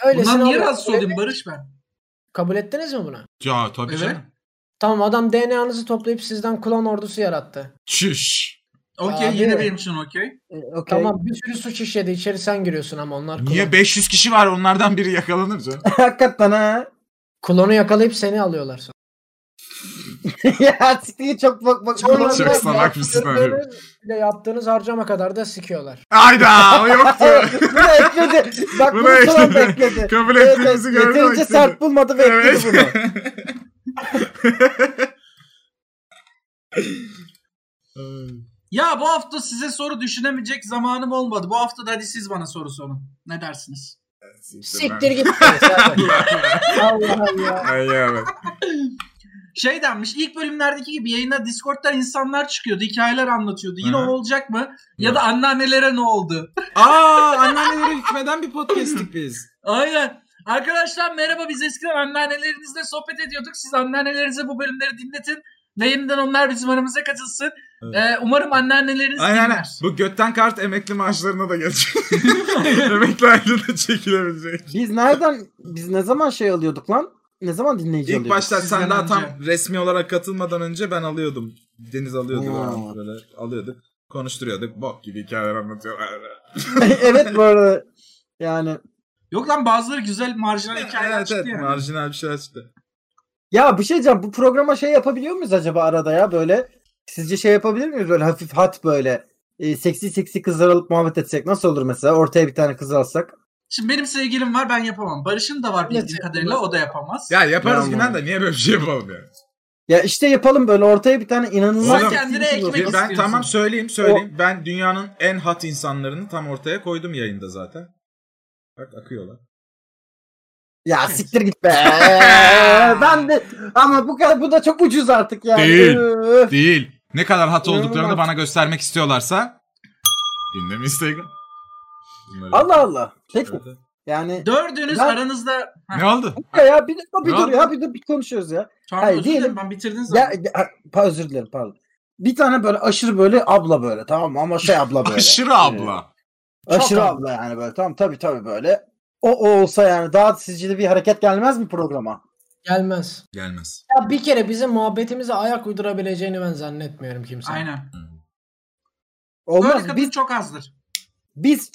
Speaker 3: Öylesine
Speaker 5: şey
Speaker 2: Bundan niye
Speaker 3: alıyor.
Speaker 2: rahatsız olayım Barış ben?
Speaker 3: Kabul ettiniz mi bunu?
Speaker 4: Ya tabii
Speaker 2: Evet.
Speaker 4: canım.
Speaker 3: Tamam adam DNA'nızı toplayıp sizden klon ordusu yarattı.
Speaker 4: Çüş.
Speaker 2: Okey
Speaker 3: Abi.
Speaker 2: yine benim için okey.
Speaker 5: E, okey.
Speaker 3: Tamam bir sürü suç işledi. İçeri sen giriyorsun ama onlar klon.
Speaker 4: Niye 500 kişi var onlardan biri yakalanır canım.
Speaker 5: (laughs) Hakikaten ha. (laughs)
Speaker 3: Klonu yakalayıp seni alıyorlar sonra.
Speaker 5: ya siktir git, çok bak bak.
Speaker 4: Çok
Speaker 5: bak-
Speaker 4: salak mısın
Speaker 5: (laughs)
Speaker 4: abi?
Speaker 3: Bir de yaptığınız harcama kadar da sikiyorlar.
Speaker 4: Hayda o
Speaker 5: (laughs)
Speaker 4: yoktu.
Speaker 5: bunu ekledi. Bak
Speaker 4: Bunu
Speaker 5: bunu, son
Speaker 4: ekledi.
Speaker 5: bekledi.
Speaker 4: (laughs) Kabul
Speaker 5: Evet,
Speaker 4: ettiğimizi
Speaker 5: evet,
Speaker 4: görmek
Speaker 5: Yeterince
Speaker 4: istedim.
Speaker 5: sert bulmadı ve
Speaker 4: Evet.
Speaker 5: ekledi
Speaker 4: (laughs)
Speaker 5: bunu.
Speaker 2: Ya bu hafta size soru düşünemeyecek zamanım olmadı. Bu hafta da hadi siz bana soru sorun. Ne dersiniz?
Speaker 3: Siktir git. Zaten. Allah Allah.
Speaker 4: Ay ya bak.
Speaker 2: Şey denmiş ilk bölümlerdeki gibi yayına Discord'dan insanlar çıkıyordu. Hikayeler anlatıyordu. Yine
Speaker 4: Hı hı.
Speaker 2: o olacak mı? Ya
Speaker 4: Yok.
Speaker 2: da anneannelere ne oldu?
Speaker 6: Aa anneannelere hükmeden bir podcast'tik biz.
Speaker 2: Aynen. Arkadaşlar merhaba biz eskiden anneannelerinizle sohbet ediyorduk. Siz anneannelerinize bu bölümleri dinletin. Ve yeniden onlar bizim aramıza katılsın.
Speaker 4: Evet.
Speaker 2: Ee, umarım anneanneleriniz
Speaker 4: Aynen aynen.
Speaker 2: dinler.
Speaker 4: Bu götten kart emekli maaşlarına da gelecek. (laughs) emekli aylığına çekilebilecek.
Speaker 5: Biz nereden biz ne zaman şey alıyorduk lan? Ne zaman dinleyici
Speaker 4: İlk
Speaker 5: alıyorduk?
Speaker 4: başta
Speaker 2: Sizden
Speaker 4: sen daha
Speaker 2: önce.
Speaker 4: tam resmi olarak katılmadan önce ben alıyordum. Deniz alıyordu
Speaker 5: Ha.
Speaker 4: falan böyle alıyorduk. Konuşturuyorduk. Bok gibi hikayeler anlatıyorlar.
Speaker 5: (laughs) evet bu arada. Yani
Speaker 2: Yok lan bazıları güzel marjinal hikayeler
Speaker 4: evet,
Speaker 2: çıktı
Speaker 4: evet,
Speaker 2: yani.
Speaker 4: marjinal bir şeyler çıktı.
Speaker 5: ya bir şey diyeceğim. Bu programa şey yapabiliyor muyuz acaba arada ya böyle? Sizce şey yapabilir miyiz böyle hafif hat böyle? E, seksi seksi kızlar alıp muhabbet etsek nasıl olur mesela? Ortaya bir tane kız alsak.
Speaker 2: Şimdi benim sevgilim var ben yapamam. Barış'ın da var bildiğim
Speaker 3: Evet.
Speaker 2: kadarıyla o da yapamaz.
Speaker 4: Ya yaparız
Speaker 5: Ya
Speaker 4: Günan da niye böyle bir şey yapalım ya?
Speaker 5: Ya işte yapalım böyle ortaya bir tane inanılmaz.
Speaker 4: Oğlum,
Speaker 2: kendine
Speaker 5: seksi kız
Speaker 2: ekmek-
Speaker 5: olsun.
Speaker 4: ben
Speaker 2: istiyorsun?
Speaker 4: tamam söyleyeyim söyleyeyim. Ben dünyanın en hat insanlarını tam ortaya koydum yayında zaten. Bak akıyorlar.
Speaker 5: Ya siktir
Speaker 4: (laughs)
Speaker 5: git be. ben de ama bu kadar bu da çok ucuz artık yani.
Speaker 4: Değil.
Speaker 5: Üf.
Speaker 4: Değil. Ne kadar hat
Speaker 5: olduklarını
Speaker 4: olduklarını
Speaker 5: da
Speaker 4: bana göstermek istiyorlarsa dinleme Instagram.
Speaker 5: Allah Allah. Peki. Yani
Speaker 2: Dördünüz
Speaker 5: Ben-
Speaker 2: aranızda...
Speaker 4: Ne oldu?
Speaker 5: Ya, ya bir dakika bir
Speaker 4: Ne
Speaker 5: dur
Speaker 4: oldu?
Speaker 5: ya bir dur bir konuşuyoruz ya.
Speaker 2: Tamam
Speaker 5: Hayır,
Speaker 2: özür dilerim
Speaker 5: diyelim-
Speaker 2: ben bitirdin zaten.
Speaker 5: Ya, ya, pa- özür dilerim pardon. Bir tane böyle aşırı böyle abla böyle tamam mı? ama şey abla böyle.
Speaker 4: Aşırı abla.
Speaker 5: Ee, aşırı
Speaker 3: Çok
Speaker 5: abla. yani böyle tamam tabii tabii böyle. O, o olsa yani daha sizce de bir hareket gelmez mi programa?
Speaker 3: Gelmez.
Speaker 4: Gelmez.
Speaker 3: Ya bir kere bizim muhabbetimize ayak uydurabileceğini ben zannetmiyorum kimse.
Speaker 2: Aynen. Böyle
Speaker 5: Olmaz.
Speaker 2: kadın
Speaker 5: Biz,
Speaker 2: çok azdır.
Speaker 5: biz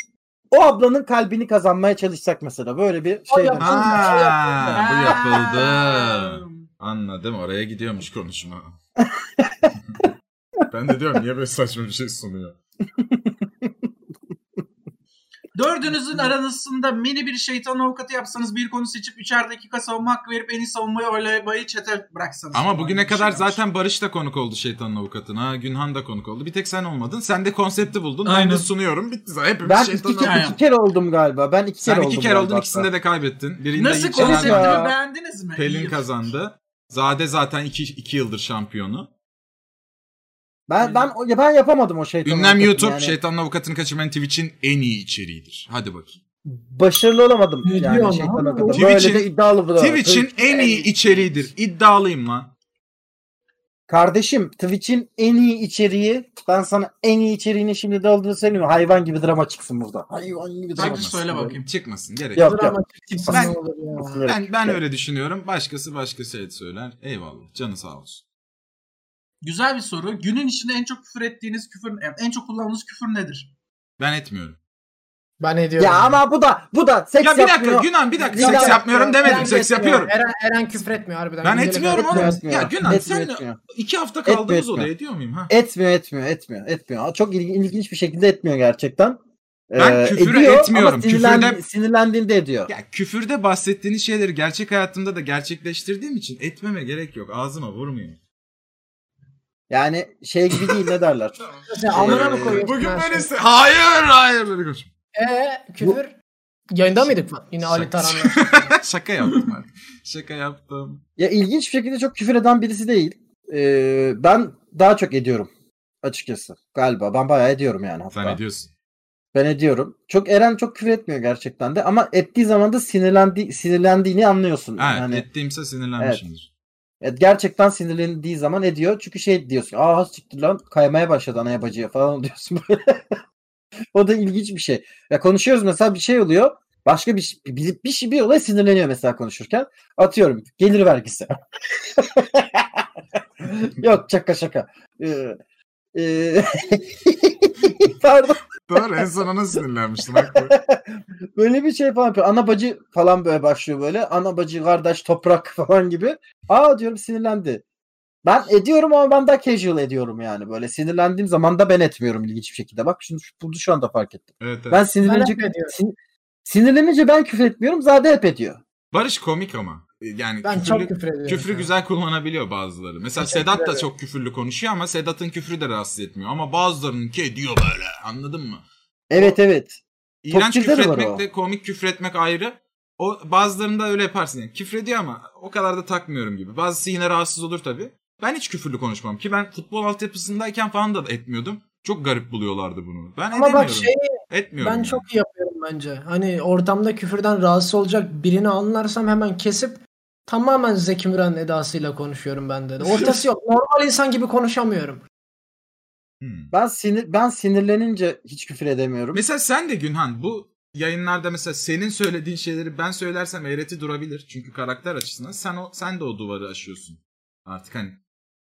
Speaker 5: o ablanın kalbini kazanmaya çalışsak mesela böyle bir
Speaker 3: O
Speaker 5: şey.
Speaker 3: yapar.
Speaker 4: Ha, bu yapıldı.
Speaker 2: (laughs) Aa.
Speaker 4: Anladım oraya gidiyormuş
Speaker 5: (laughs)
Speaker 4: konuşma. ben de diyorum niye böyle saçma bir şey sunuyor.
Speaker 2: Dördünüzün arasında mini bir şeytan avukatı yapsanız bir konu seçip üçer dakika savunma hakkı verip en iyi savunmayı oylamayı çete bıraksanız.
Speaker 4: Ama
Speaker 2: falan
Speaker 4: bugüne
Speaker 2: bir şey
Speaker 4: kadar
Speaker 2: yapmış.
Speaker 4: zaten Barış da konuk oldu şeytanın avukatına. Günhan da konuk oldu. Bir tek sen olmadın. Sen de konsepti buldun. Ben
Speaker 2: Aynen.
Speaker 4: de sunuyorum. Bitti zaten. Hepimiz
Speaker 5: Ben iki,
Speaker 4: şeytanın
Speaker 5: iki
Speaker 2: Aynen.
Speaker 5: kere oldum galiba. Ben iki kere
Speaker 4: Sen
Speaker 5: oldum.
Speaker 4: iki kere
Speaker 5: galiba
Speaker 4: oldun
Speaker 5: hatta.
Speaker 4: ikisinde de kaybettin. Birinde
Speaker 2: Nasıl
Speaker 4: Yiğitcan
Speaker 5: konsept-
Speaker 2: konseptimi
Speaker 4: abi,
Speaker 5: Ya.
Speaker 2: beğendiniz mi?
Speaker 4: şey Pelin
Speaker 2: İyi.
Speaker 4: kazandı. Zade zaten iki, iki yıldır şampiyonu.
Speaker 5: Ben ben o- ya ben yapamadım o şeytanı.
Speaker 4: Ünlem YouTube
Speaker 5: yani.
Speaker 4: Şeytanın Avukatı'nı kaçırmayan Twitch'in en iyi içeriğidir. Hadi bakayım.
Speaker 5: Başarılı olamadım
Speaker 3: Ne diyor lan?
Speaker 5: yani şeytan o kadar.
Speaker 4: Twitch'in-
Speaker 5: Böyle de iddialı bu. da.
Speaker 4: Twitch'in en iyi içeriğidir. İddialıyım lan.
Speaker 5: Kardeşim Twitch'in en iyi içeriği ben sana en iyi içeriğini şimdi de olduğunu söyleyeyim. Hayvan gibi drama çıksın burada. Hayvan gibi drama
Speaker 2: Hadi
Speaker 5: çıksın.
Speaker 2: söyle
Speaker 5: burada.
Speaker 2: bakayım.
Speaker 4: Çıkmasın gerek.
Speaker 5: Yok yok.
Speaker 3: Drama çıksın ne
Speaker 4: Ben-
Speaker 3: olur ya.
Speaker 4: Ben ben öyle düşünüyorum. Başkası başka şey söyler. Eyvallah. Canı sağ olsun.
Speaker 2: Güzel bir soru. Günün içinde en çok küfür ettiğiniz küfür, en çok kullandığınız küfür nedir?
Speaker 4: Ben etmiyorum.
Speaker 3: Ben ediyorum.
Speaker 5: Ya ama bu da bu da seks
Speaker 4: Ya bir dakika
Speaker 5: yapmıyor.
Speaker 4: Günan bir dakika
Speaker 5: Bir
Speaker 4: seks
Speaker 5: dakika.
Speaker 4: yapmıyorum
Speaker 3: Eren
Speaker 4: demedim. Seks
Speaker 3: etmiyor.
Speaker 4: yapıyorum.
Speaker 3: Eren, Eren küfür etmiyor harbiden.
Speaker 4: Ben
Speaker 3: Güzel
Speaker 4: etmiyorum
Speaker 3: efendim.
Speaker 4: oğlum.
Speaker 5: Etmiyor, etmiyor.
Speaker 4: Ya Günan,
Speaker 5: etmiyor,
Speaker 4: sen de-
Speaker 5: etmiyor.
Speaker 4: İki hafta
Speaker 5: Etmiyor,
Speaker 4: kaldığımız
Speaker 5: etmiyor.
Speaker 4: odaya diyor muyum? Ha?
Speaker 5: etmiyor etmiyor etmiyor etmiyor. Çok ilgi- ilginç bir şekilde etmiyor gerçekten. Ee,
Speaker 4: Ben küfür etmiyorum.
Speaker 5: Ama sinirlen-
Speaker 4: Küfürde-
Speaker 5: sinirlendiğinde ediyor.
Speaker 4: Ya küfürde bahsettiğiniz şeyleri gerçek hayatımda da gerçekleştirdiğim için etmeme gerek yok. Ağzıma vurmuyor.
Speaker 5: Yani şey gibi değil ne derler.
Speaker 3: Sen amına mı
Speaker 5: Ee,
Speaker 3: koyuyorsun?
Speaker 4: Bugün
Speaker 3: her
Speaker 4: ben
Speaker 3: şeyi?
Speaker 4: iste- Hayır hayır. Böyle konuş-
Speaker 3: Ee, küfür. Yayında mıydık lan? Yine Ali
Speaker 4: Şaka- (laughs)
Speaker 3: Taran'la.
Speaker 4: Şaka yaptım abi. Şaka yaptım.
Speaker 5: Ya ilginç bir şekilde çok küfür eden birisi değil. Ee, ben daha çok ediyorum açıkçası. Galiba ben bayağı ediyorum yani hatta.
Speaker 4: Sen ediyorsun.
Speaker 5: ben ediyorum. Çok Eren çok küfür etmiyor gerçekten de ama ettiği zaman da sinirlendi sinirlendiğini anlıyorsun.
Speaker 4: Evet,
Speaker 5: yani
Speaker 4: ettiğimse sinirlenmişimdir.
Speaker 5: evet, E, gerçekten sinirlendiği zaman (laughs) ediyor. Çünkü şey diyorsun. Aa siktir lan kaymaya başladı anaya bacıya falan diyorsun böyle. o da ilginç bir şey. Ya konuşuyoruz mesela bir şey oluyor. Başka bir ş- bir bir, şey bir olay sinirleniyor mesela konuşurken. Atıyorum gelir vergisi. (laughs) Yok şaka şaka. Ee, e, (laughs) pardon.
Speaker 7: Doğru en son ona sinirlenmiştim.
Speaker 3: (laughs)
Speaker 7: haklı.
Speaker 5: Böyle bir şey falan yapıyor. Ana bacı falan böyle başlıyor böyle. Ana bacı kardeş toprak (laughs) falan gibi. Aa diyorum sinirlendi. Ben ediyorum ama ben daha casual ediyorum yani. Böyle sinirlendiğim zaman da ben etmiyorum ilginç bir şekilde. Bak şimdi şu- bunu şu anda fark ettim.
Speaker 4: Evet, evet.
Speaker 5: Ben
Speaker 3: Ben
Speaker 5: sinirlenince,
Speaker 3: hep ediyorum.
Speaker 5: sin- sinirlenince ben küfür etmiyorum. Zade hep ediyor.
Speaker 4: Barış komik ama. Yani
Speaker 3: Ben
Speaker 4: küfürlü-
Speaker 3: çok küfür ediyorum.
Speaker 4: küfrü güzel kullanabiliyor bazıları. Mesela
Speaker 3: Teşekkür
Speaker 4: Sedat da
Speaker 3: ederim.
Speaker 4: çok küfürlü konuşuyor ama Sedat'ın küfrü de rahatsız etmiyor. Ama bazılarının ki diyor böyle anladın mı?
Speaker 5: Evet evet.
Speaker 4: İğrenç
Speaker 5: Topçuları var
Speaker 4: küfretmek
Speaker 5: o.
Speaker 4: de komik küfretmek ayrı. O bazılarında öyle yaparsın yani. Küfrediyor ama o kadar da takmıyorum gibi. Bazısı yine rahatsız olur tabii. Ben hiç küfürlü konuşmam ki ben futbol altyapısındayken falan da etmiyordum. Çok garip buluyorlardı bunu. Ben
Speaker 3: Ama
Speaker 4: edemiyorum.
Speaker 3: bak şeyi
Speaker 4: Etmiyorum.
Speaker 3: ben
Speaker 4: yani.
Speaker 3: çok iyi yapıyorum bence. Hani ortamda küfürden rahatsız olacak birini anlarsam hemen kesip tamamen Zeki Müren edasıyla konuşuyorum ben de. Ortası yok. Normal insan gibi konuşamıyorum.
Speaker 4: Hmm.
Speaker 5: Ben sinir ben sinirlenince hiç küfür edemiyorum.
Speaker 4: Mesela sen de Günhan bu yayınlarda mesela senin söylediğin şeyleri ben söylersem eğreti durabilir. Çünkü karakter açısından sen o sen de o duvarı aşıyorsun. Artık hani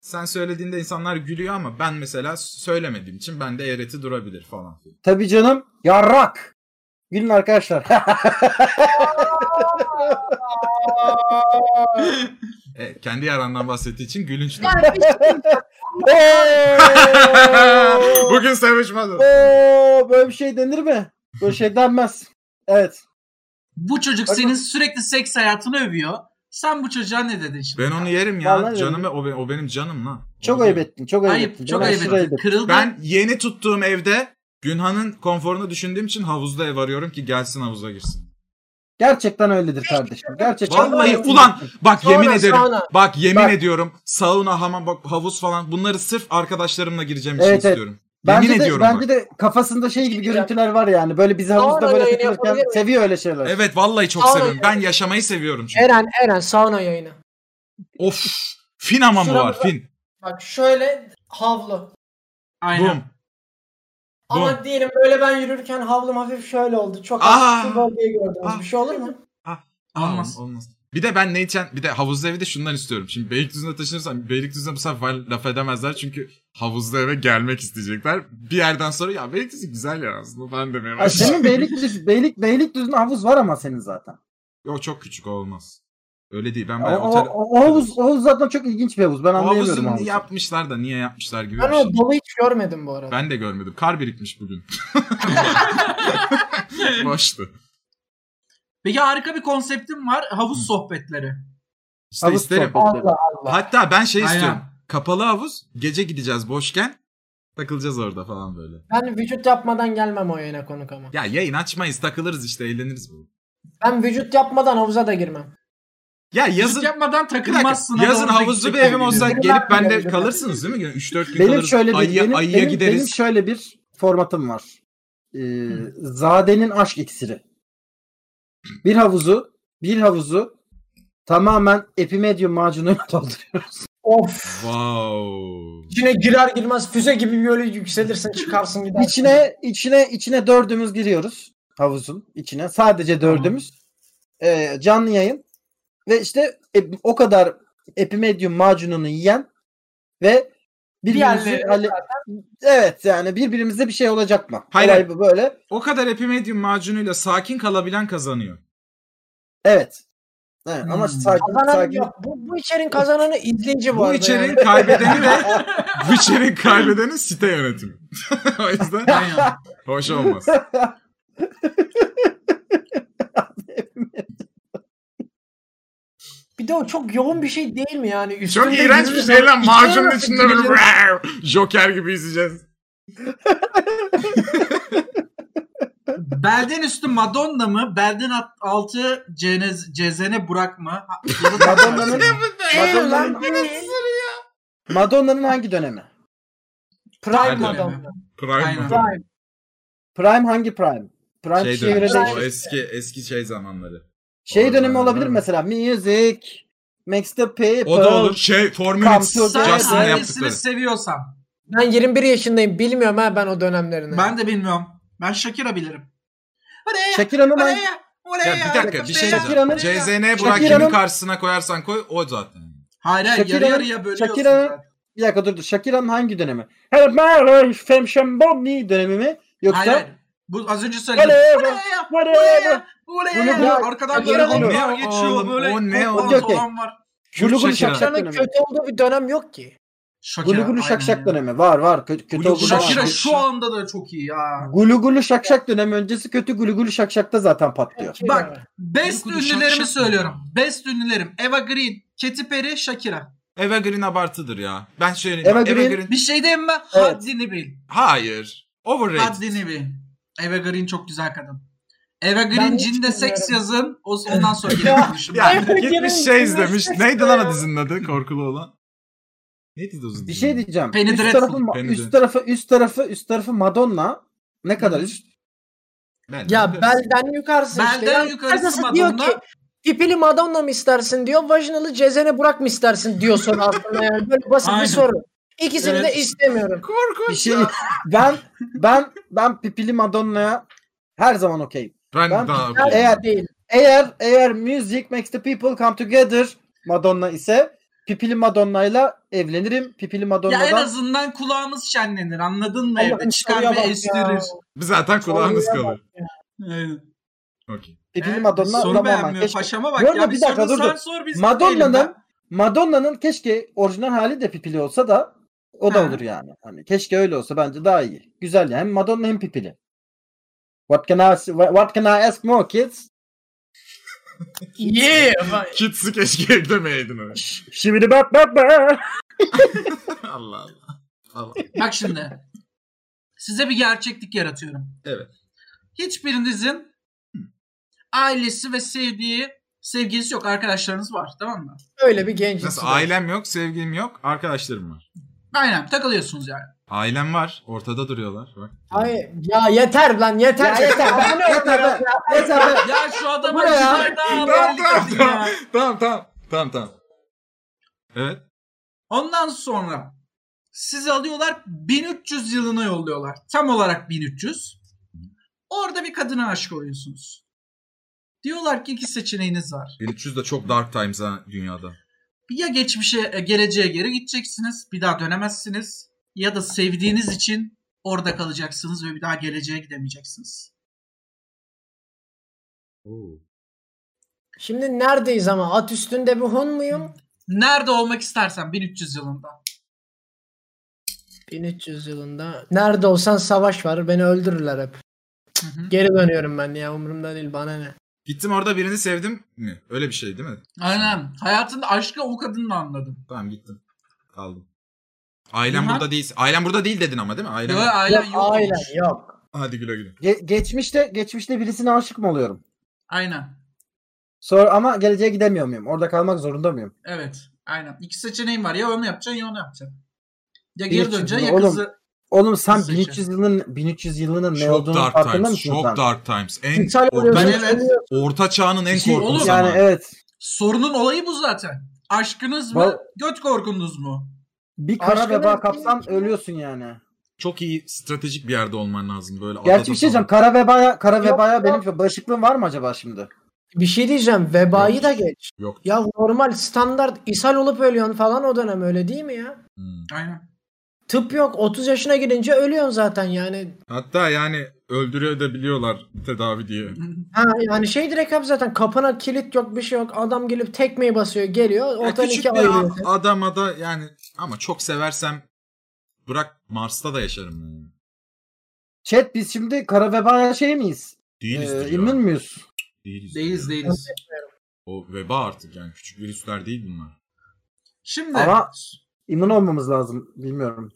Speaker 4: sen söylediğinde insanlar gülüyor ama ben mesela söylemediğim için ben de eğreti durabilir falan.
Speaker 5: Tabii canım. Yarrak. Gülün arkadaşlar. (laughs)
Speaker 4: E, kendi yarandan bahsettiği için gülünç. (laughs) Bugün sevişmedim.
Speaker 5: Oo, böyle bir şey denir mi? Böyle şey denmez. Evet.
Speaker 2: Bu çocuk
Speaker 5: Bak-
Speaker 2: senin sürekli seks hayatını övüyor. Sen bu çocuğa ne dedin şimdi?
Speaker 4: Ben onu yerim ya.
Speaker 5: Vallahi
Speaker 4: Canım o, be- o benim canım lan.
Speaker 5: Çok
Speaker 4: Onu
Speaker 5: ayıp
Speaker 4: yerim.
Speaker 5: ettin. Çok ayıp ettin.
Speaker 2: Ayıp, çok
Speaker 5: Ben
Speaker 2: ayıp.
Speaker 5: aşırı
Speaker 2: ettin. Kırıldın.
Speaker 4: Ben yeni tuttuğum evde Günhan'ın konforunu düşündüğüm için havuzda ev arıyorum ki gelsin havuza girsin.
Speaker 5: Gerçekten öyledir kardeşim. Gerçekten.
Speaker 4: Vallahi
Speaker 5: öyledir.
Speaker 4: ulan bak
Speaker 3: Sauna,
Speaker 4: yemin ederim.
Speaker 3: sauna.
Speaker 4: Bak yemin
Speaker 5: Bak.
Speaker 4: ediyorum. Sauna, hamam, bak havuz falan bunları sırf arkadaşlarımla gireceğim için
Speaker 5: Evet, evet.
Speaker 4: istiyorum.
Speaker 5: Bence
Speaker 4: yemin
Speaker 5: de,
Speaker 4: ediyorum
Speaker 5: bence
Speaker 4: bak.
Speaker 5: de kafasında şey gibi görüntüler var yani. Böyle bizi havuzda
Speaker 3: Sauna
Speaker 5: böyle
Speaker 3: yayını
Speaker 5: tutulurken
Speaker 3: yapabilir miyim?
Speaker 5: seviyor öyle şeyler.
Speaker 4: Evet vallahi çok
Speaker 3: Sauna
Speaker 4: seviyorum.
Speaker 3: yani.
Speaker 4: Ben yaşamayı seviyorum çünkü.
Speaker 3: Eren Eren sauna yayını.
Speaker 4: Of. Fin hamamı var
Speaker 3: Şuramıza-
Speaker 4: fin.
Speaker 3: Bak şöyle havlu.
Speaker 2: Aynen.
Speaker 4: Bum.
Speaker 3: Ama diyelim böyle ben yürürken havlum hafif şöyle oldu. Çok
Speaker 4: Aa.
Speaker 3: az bir bölgeyi gördünüz.
Speaker 4: Aa.
Speaker 3: Bir şey olur mu?
Speaker 2: Olmaz.
Speaker 4: Aa, Olmaz. Bir de ben ne için bir de havuzda evi de şundan istiyorum. Şimdi Beylikdüzü'ne taşınırsam Beylikdüzü'ne bu sefer laf edemezler çünkü havuzda eve gelmek isteyecekler. Bir yerden sonra ya Beylikdüzü güzel ya aslında ben demeye
Speaker 5: Ay,
Speaker 4: başladım.
Speaker 5: senin Beylikdüzü, Beylik, Beylikdüzü'nde havuz var ama senin zaten.
Speaker 4: Yok çok küçük o olmaz. Öyle değil ben
Speaker 5: O,
Speaker 4: bayağı
Speaker 5: o,
Speaker 4: otel...
Speaker 5: o, o havuz, o havuz zaten çok ilginç bir havuz. Ben
Speaker 4: O havuzu
Speaker 5: anlayamıyorum
Speaker 4: niye
Speaker 5: havuzu.
Speaker 4: yapmışlar da niye yapmışlar gibi
Speaker 3: Ben
Speaker 4: bir şey.
Speaker 3: o dolu hiç görmedim bu arada.
Speaker 4: Ben de görmedim. Kar birikmiş bugün. Boştu.
Speaker 2: Peki harika bir konseptim var. Havuz sohbetleri.
Speaker 4: İşte
Speaker 5: Havuz
Speaker 4: isterim.
Speaker 5: sohbetleri.
Speaker 4: Hatta ben şey
Speaker 2: Aynen.
Speaker 4: istiyorum. Kapalı havuz gece gideceğiz boşken takılacağız orada falan böyle.
Speaker 3: Ben vücut yapmadan gelmem o yayına konuk ama.
Speaker 4: Ya yayın açmayız takılırız işte eğleniriz bu.
Speaker 3: Ben vücut yapmadan havuza da girmem.
Speaker 4: Ya
Speaker 2: Yazın,
Speaker 4: yazın
Speaker 2: yapmadan
Speaker 4: Bir dakika,
Speaker 2: takılmazsın. ha,
Speaker 4: yazın
Speaker 2: doğru
Speaker 4: havuzlu bir
Speaker 2: teknik
Speaker 4: evim olsa
Speaker 2: bilmiyorum.
Speaker 4: gelip ben de
Speaker 3: Benim
Speaker 4: kalırsınız değil mi? 3-4 gün
Speaker 5: Benim
Speaker 4: kalırız.
Speaker 5: şöyle bir
Speaker 4: ayıya,
Speaker 5: benim,
Speaker 4: ayıya
Speaker 5: benim,
Speaker 4: gideriz.
Speaker 5: benim şöyle bir formatım var. Ee, Zade'nin aşk iksiri. Bir havuzu, bir havuzu tamamen epimedium macunuyla (laughs) dolduruyoruz.
Speaker 3: Of.
Speaker 4: Wow.
Speaker 3: İçine girer girmez füze gibi böyle yükselirsin çıkarsın gidersin.
Speaker 5: İçine içine içine dördümüz giriyoruz havuzun içine. Sadece dördümüz. Ee, canlı yayın ve işte e- o kadar epimedium macununu yiyen ve birbirimizi
Speaker 3: Diğerleri
Speaker 5: hale- evet yani birbirimize bir şey olacak mı?
Speaker 4: Hayır,
Speaker 5: Olay
Speaker 4: hayır.
Speaker 5: bu böyle.
Speaker 4: O kadar epimedium macunuyla sakin kalabilen kazanıyor.
Speaker 5: Evet. Evet ama
Speaker 2: Hmm.
Speaker 5: sakin
Speaker 3: Kazanan
Speaker 5: sakin.
Speaker 3: yok. Bu, bu içerin kazananı izleyici bu,
Speaker 4: Bu
Speaker 3: arada.
Speaker 4: içeriğin
Speaker 3: yani.
Speaker 4: kaybedeni ve bu içeriğin kaybedeni site yönetimi. (laughs) o yüzden
Speaker 2: Aynen.
Speaker 5: (laughs)
Speaker 4: hoş olmaz.
Speaker 3: Bir de o çok yoğun bir şey değil mi yani? Üstünde
Speaker 4: Çok iğrenç bir
Speaker 3: yürürüz
Speaker 4: şey
Speaker 3: ama
Speaker 4: lan macunun
Speaker 3: nasıl
Speaker 4: içinde böyle
Speaker 3: gireceğiz?
Speaker 4: "Wow!" (laughs) Joker gibi izleyeceğiz.
Speaker 2: Belden üstü Madonna mı? Belden at- altı Cenez, Cezene Burak mı? Ha- ya da-
Speaker 5: Madonna'nın
Speaker 4: Şey
Speaker 5: Madonna'nın Madonna'nın hangi dönemi?
Speaker 4: Hadi.
Speaker 3: Prime adam.
Speaker 4: Prime.
Speaker 2: Aynen.
Speaker 3: Prime.
Speaker 5: Prime hangi prime? Prime
Speaker 4: Şey
Speaker 5: şehre
Speaker 4: dönemi.
Speaker 5: değişir.
Speaker 4: O eski eski şey zamanları.
Speaker 5: Şey dönemi
Speaker 4: Orada-
Speaker 5: olabilir mesela. Music, Max the People.
Speaker 4: O da olur. Şey, Four Minutes.
Speaker 5: Kamp-
Speaker 2: Sen
Speaker 5: Justin'ın
Speaker 2: ailesini
Speaker 4: yaptıkları.
Speaker 2: seviyorsan.
Speaker 3: Ben 21 yaşındayım. Bilmiyorum ha ben o dönemlerini.
Speaker 2: Ben de bilmiyorum. Ben Shakira bilirim. Oraya,
Speaker 5: Shakira'nın ben
Speaker 2: oraya, oraya.
Speaker 4: Ya bir dakika bir şey
Speaker 5: Shakira'nın-
Speaker 4: diyeceğim. CZN Burak
Speaker 5: Shakira'nın-
Speaker 4: kimin karşısına koyarsan koy o zaten.
Speaker 2: Hayır hayır yarı
Speaker 5: Shakira'nın-
Speaker 2: yarıya bölüyorsun.
Speaker 5: Shakira'nın-
Speaker 2: zaten.
Speaker 5: bir dakika dur dur. Shakira'nın hangi dönemi? Her merhaba femşembomni dönemi mi?
Speaker 2: Hayır,
Speaker 5: Yoksa
Speaker 2: hayır. Bu az önce söyledim.
Speaker 5: Whatever,
Speaker 2: Oraya,
Speaker 5: whatever.
Speaker 2: oraya,
Speaker 5: Bunu-
Speaker 2: oraya.
Speaker 5: bunu-
Speaker 2: Arkadan
Speaker 5: Shakira
Speaker 2: böyle
Speaker 5: bunu-
Speaker 2: bir
Speaker 4: O
Speaker 2: geçiyor
Speaker 4: oğlum,
Speaker 2: böyle.
Speaker 4: o ne
Speaker 2: korna
Speaker 5: oğlum?
Speaker 2: falan var.
Speaker 5: Gulu gulu
Speaker 4: Shakira.
Speaker 5: şakşak
Speaker 3: Shakira'nın
Speaker 5: dönemi.
Speaker 3: kötü olduğu bir dönem yok ki.
Speaker 2: Shakira,
Speaker 5: Gulu gulu
Speaker 2: aynen
Speaker 5: şakşak
Speaker 2: ya.
Speaker 5: dönemi var var. Kötü, kötü
Speaker 4: Gulu
Speaker 5: olduğu
Speaker 4: gulu
Speaker 5: dönem.
Speaker 2: Shakira
Speaker 4: Shakira.
Speaker 2: şu anda da çok iyi ya.
Speaker 5: Gulu gulu şakşak dönemi öncesi kötü gulu gulu şakşakta zaten patlıyor.
Speaker 2: Bak best
Speaker 4: Gulu gulu
Speaker 2: ünlülerimi
Speaker 4: şakşak
Speaker 2: söylüyorum. Best ünlülerim. Eva Green, Katy Perry, Shakira.
Speaker 4: Evergreen abartıdır ya. Ben şöyle
Speaker 5: Eva
Speaker 4: Evergreen...
Speaker 5: Green-
Speaker 4: Evergreen...
Speaker 2: Bir şey diyeyim mi?
Speaker 5: Evet.
Speaker 2: Haddini bil.
Speaker 4: Hayır. Overrated.
Speaker 2: Haddini bil. Eva Green çok güzel kadın. Eva
Speaker 3: Ben
Speaker 2: Green
Speaker 3: hiç
Speaker 2: Cin'de seks
Speaker 3: bilmiyorum.
Speaker 2: yazın. o- Ondan
Speaker 5: (laughs)
Speaker 2: sonra gelin
Speaker 7: Ya
Speaker 2: düşünmem.
Speaker 7: gitmiş şey izlemiş. Neydi lan o dizinin adı korkulu olan? Neydi o dizinin?
Speaker 5: Bir şey diyeceğim.
Speaker 2: Penny
Speaker 5: üst
Speaker 2: Dreadful,
Speaker 5: tarafı,
Speaker 4: Penny
Speaker 5: üst
Speaker 4: Dreadful.
Speaker 5: tarafı üst tarafı üst tarafı Madonna ne kadar üst?
Speaker 4: Ben
Speaker 3: Ya
Speaker 4: ben...
Speaker 3: belden yukarısı işte.
Speaker 2: Belden
Speaker 3: Ya
Speaker 2: yukarısı
Speaker 3: neredeyse
Speaker 2: Madonna.
Speaker 3: Diyor ki, pipili Madonna mı istersin diyor. Vajinalı cezene Burak mı istersin diyor soru aslında yani. Böyle basit
Speaker 2: Aynen.
Speaker 3: bir soru. İkisini
Speaker 2: Evet.
Speaker 3: de istemiyorum.
Speaker 5: Bir şey ben ben ben Pipili Madonna'ya her zaman okeyim.
Speaker 4: Ben,
Speaker 5: Ben-
Speaker 4: daha
Speaker 3: Ben-
Speaker 4: okeyim.
Speaker 5: Eğer-
Speaker 3: Değil.
Speaker 5: Eğer eğer music makes the people come together Madonna ise Pipili Madonna'yla evlenirim. Pipili
Speaker 2: ya en
Speaker 5: Madonna'dan
Speaker 2: azından kulağımız şenlenir anladın mı
Speaker 3: Allah'ım
Speaker 2: evde? Çıkar
Speaker 3: soruya bak
Speaker 2: ve
Speaker 3: ya.
Speaker 2: estirir.
Speaker 4: Zaten kulağınız
Speaker 3: Soruya
Speaker 4: kalır.
Speaker 2: Aynen.
Speaker 4: Okey.
Speaker 5: Pipili
Speaker 2: Evet,
Speaker 5: Madonna
Speaker 2: soru
Speaker 5: tamamen
Speaker 2: beğenmiyor.
Speaker 5: keşke.
Speaker 2: Paşama bak
Speaker 5: Bu arada
Speaker 2: ya.
Speaker 5: bir
Speaker 2: Bir
Speaker 5: dakika,
Speaker 2: dakika
Speaker 5: dur,
Speaker 2: sen
Speaker 5: dur.
Speaker 2: sor biz
Speaker 5: Madonna'nın-
Speaker 2: diyelim ben.
Speaker 5: Madonna'nın keşke orijinal hali de Pipili olsa da o da
Speaker 2: Ha.
Speaker 5: olur yani. Hani keşke öyle olsa bence daha iyi. Güzel yani. Hem Madonna hem Pipili. What can I what can I ask more kids?
Speaker 3: Yeah.
Speaker 7: Kids'i
Speaker 4: (laughs)
Speaker 7: keşke eklemeydin öyle.
Speaker 5: Şimdi bak bak bak.
Speaker 4: Allah Allah. Allah.
Speaker 2: Bak şimdi. Size bir gerçeklik yaratıyorum.
Speaker 4: Evet.
Speaker 2: Hiçbirinizin ailesi ve sevdiği sevgilisi yok. Arkadaşlarınız var. Tamam mı?
Speaker 3: Öyle bir genç.
Speaker 4: Nasıl ailem yok, sevgilim yok, arkadaşlarım var.
Speaker 2: Aynen. Takılıyorsunuz yani.
Speaker 4: Ailem var. Ortada duruyorlar. Bak.
Speaker 3: Hayır. Ya yeter lan yeter.
Speaker 5: Ya yeter. Ben yeter. be, Yeter. be.
Speaker 2: Ya şu adama
Speaker 5: Bu ne ya?
Speaker 2: çıkar daha
Speaker 4: Tamam,
Speaker 2: haberlik edin
Speaker 4: tamam,
Speaker 2: ya.
Speaker 4: Tamam tamam. Tamam tamam. Evet.
Speaker 2: Ondan sonra sizi alıyorlar 1300 yılına yolluyorlar. Tam olarak 1300. Orada bir kadına aşık oluyorsunuz. Diyorlar ki iki seçeneğiniz var.
Speaker 4: 1300 de çok dark times ha dünyada.
Speaker 2: Ya geçmişe, e, geleceğe geri gideceksiniz, bir daha dönemezsiniz. Ya da sevdiğiniz için orada kalacaksınız ve bir daha geleceğe gidemeyeceksiniz.
Speaker 3: (laughs) Şimdi neredeyiz ama? At üstünde bir hun muyum?
Speaker 2: Nerede olmak istersen 1300 yılında.
Speaker 3: 1300 yılında. Nerede olsan savaş var. Beni öldürürler hep.
Speaker 2: Hı hı.
Speaker 3: Geri dönüyorum ben ya. Umurumda değil bana ne.
Speaker 4: Gittim orada birini sevdim mi? Öyle bir şey değil mi?
Speaker 2: Aynen. Hayatında aşkı o kadınla anladım.
Speaker 4: Tamam gittim. Kaldım. Ailem
Speaker 2: Nihan?
Speaker 4: burada değil. Ailem burada değil dedin ama değil mi? Ailem.
Speaker 2: Yok, ailen
Speaker 3: Yok,
Speaker 2: yok.
Speaker 3: Aynen yok.
Speaker 4: Hadi güle güle.
Speaker 5: Ge- geçmişte geçmişte birisine aşık mı oluyorum?
Speaker 2: Aynen.
Speaker 5: Sonra ama geleceğe gidemiyor muyum? Orada kalmak zorunda mıyım?
Speaker 2: Evet. Aynen. İki seçeneğin var. Ya onu yapacaksın ya onu yapacaksın. Ya
Speaker 5: 1300
Speaker 2: geri döneceksin ya
Speaker 5: yılı, oğlum.
Speaker 2: kızı.
Speaker 5: Oğlum sen
Speaker 2: Nasıl
Speaker 5: 1300 yılın 1300 yılının ne
Speaker 4: Çok
Speaker 5: olduğunu
Speaker 4: dark
Speaker 5: farkında
Speaker 4: times.
Speaker 5: mısın
Speaker 4: Çok
Speaker 5: sen?
Speaker 4: dark times. En
Speaker 3: İnsan
Speaker 4: or-
Speaker 3: oluyorsun.
Speaker 2: ben evet.
Speaker 3: ölüyorsun.
Speaker 4: orta çağının en
Speaker 5: Bir şey-
Speaker 4: korkunç
Speaker 2: Oğlum,
Speaker 5: yani
Speaker 4: zamanı.
Speaker 5: evet.
Speaker 2: Sorunun olayı bu zaten. Aşkınız mı?
Speaker 5: Ba-
Speaker 2: göt korkunuz mu?
Speaker 5: Bir kara
Speaker 3: Aşkının
Speaker 5: veba
Speaker 3: içinde-
Speaker 5: kapsan ölüyorsun yani.
Speaker 4: Çok iyi stratejik bir yerde olman lazım böyle.
Speaker 5: Gerçi
Speaker 4: adada
Speaker 5: bir şey diyeceğim.
Speaker 4: falan.
Speaker 5: Kara vebaya, kara
Speaker 3: Yok,
Speaker 5: vebaya
Speaker 3: yok.
Speaker 5: benim bağışıklığım var mı acaba şimdi?
Speaker 3: Bir şey diyeceğim. Vebayı da geç.
Speaker 4: Yok.
Speaker 3: Ya normal standart ishal olup ölüyorsun falan o dönem öyle değil mi ya?
Speaker 4: Hmm.
Speaker 2: Aynen.
Speaker 3: Tıp yok. 30 yaşına girince ölüyorsun zaten yani.
Speaker 4: Hatta yani öldürüyor da biliyorlar tedavi diye.
Speaker 3: Ha yani şey direkt abi zaten kapına kilit yok bir şey yok. Adam gelip tekmeyi basıyor geliyor.
Speaker 4: Ya
Speaker 3: Ortadan
Speaker 4: küçük
Speaker 3: iki
Speaker 4: bir
Speaker 3: ayırıyor.
Speaker 4: a- adama da yani ama çok seversem bırak Mars'ta da yaşarım. Yani.
Speaker 5: Chat biz şimdi kara vebaya şey miyiz?
Speaker 4: Değiliz
Speaker 5: Ee,
Speaker 4: ya.
Speaker 5: emin miyiz?
Speaker 4: Değiliz.
Speaker 2: Değiliz
Speaker 4: ya.
Speaker 2: değiliz.
Speaker 4: O veba artık yani küçük virüsler değil bunlar.
Speaker 2: Şimdi
Speaker 5: Ama- Emin olmamız lazım. Bilmiyorum.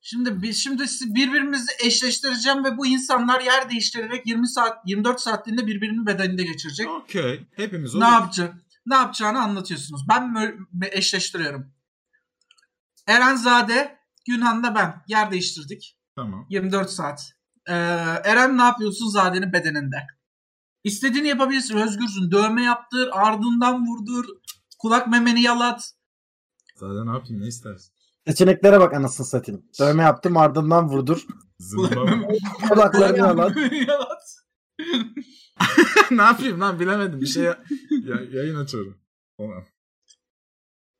Speaker 2: Şimdi biz şimdi siz- birbirimizi eşleştireceğim ve bu insanlar yer değiştirerek 20 saat 24 saatliğinde birbirinin bedeninde geçirecek.
Speaker 4: Okey. Hepimiz
Speaker 2: ne
Speaker 4: olur.
Speaker 2: yapacak? Ne yapacağını anlatıyorsunuz. Ben mö- me- eşleştiriyorum. Erenzade, Yunan'la ben yer değiştirdik.
Speaker 4: Tamam.
Speaker 2: 24 saat. Ee, Eren ne yapıyorsun Zade'nin bedeninde? İstediğini yapabilirsin. Özgürsün. Dövme yaptır, ardından vurdur, kulak memeni yalat. (laughs)
Speaker 4: Zaten ne yapayım ne istersin?
Speaker 5: Seçeneklere bak anasını satayım. Dövme yaptım ardından (laughs) vurdur.
Speaker 4: Zımba. (laughs)
Speaker 5: Kulaklarını alan.
Speaker 2: Yalan.
Speaker 4: ne yapayım lan bilemedim. Bir şey ya, yayın açıyorum. Tamam.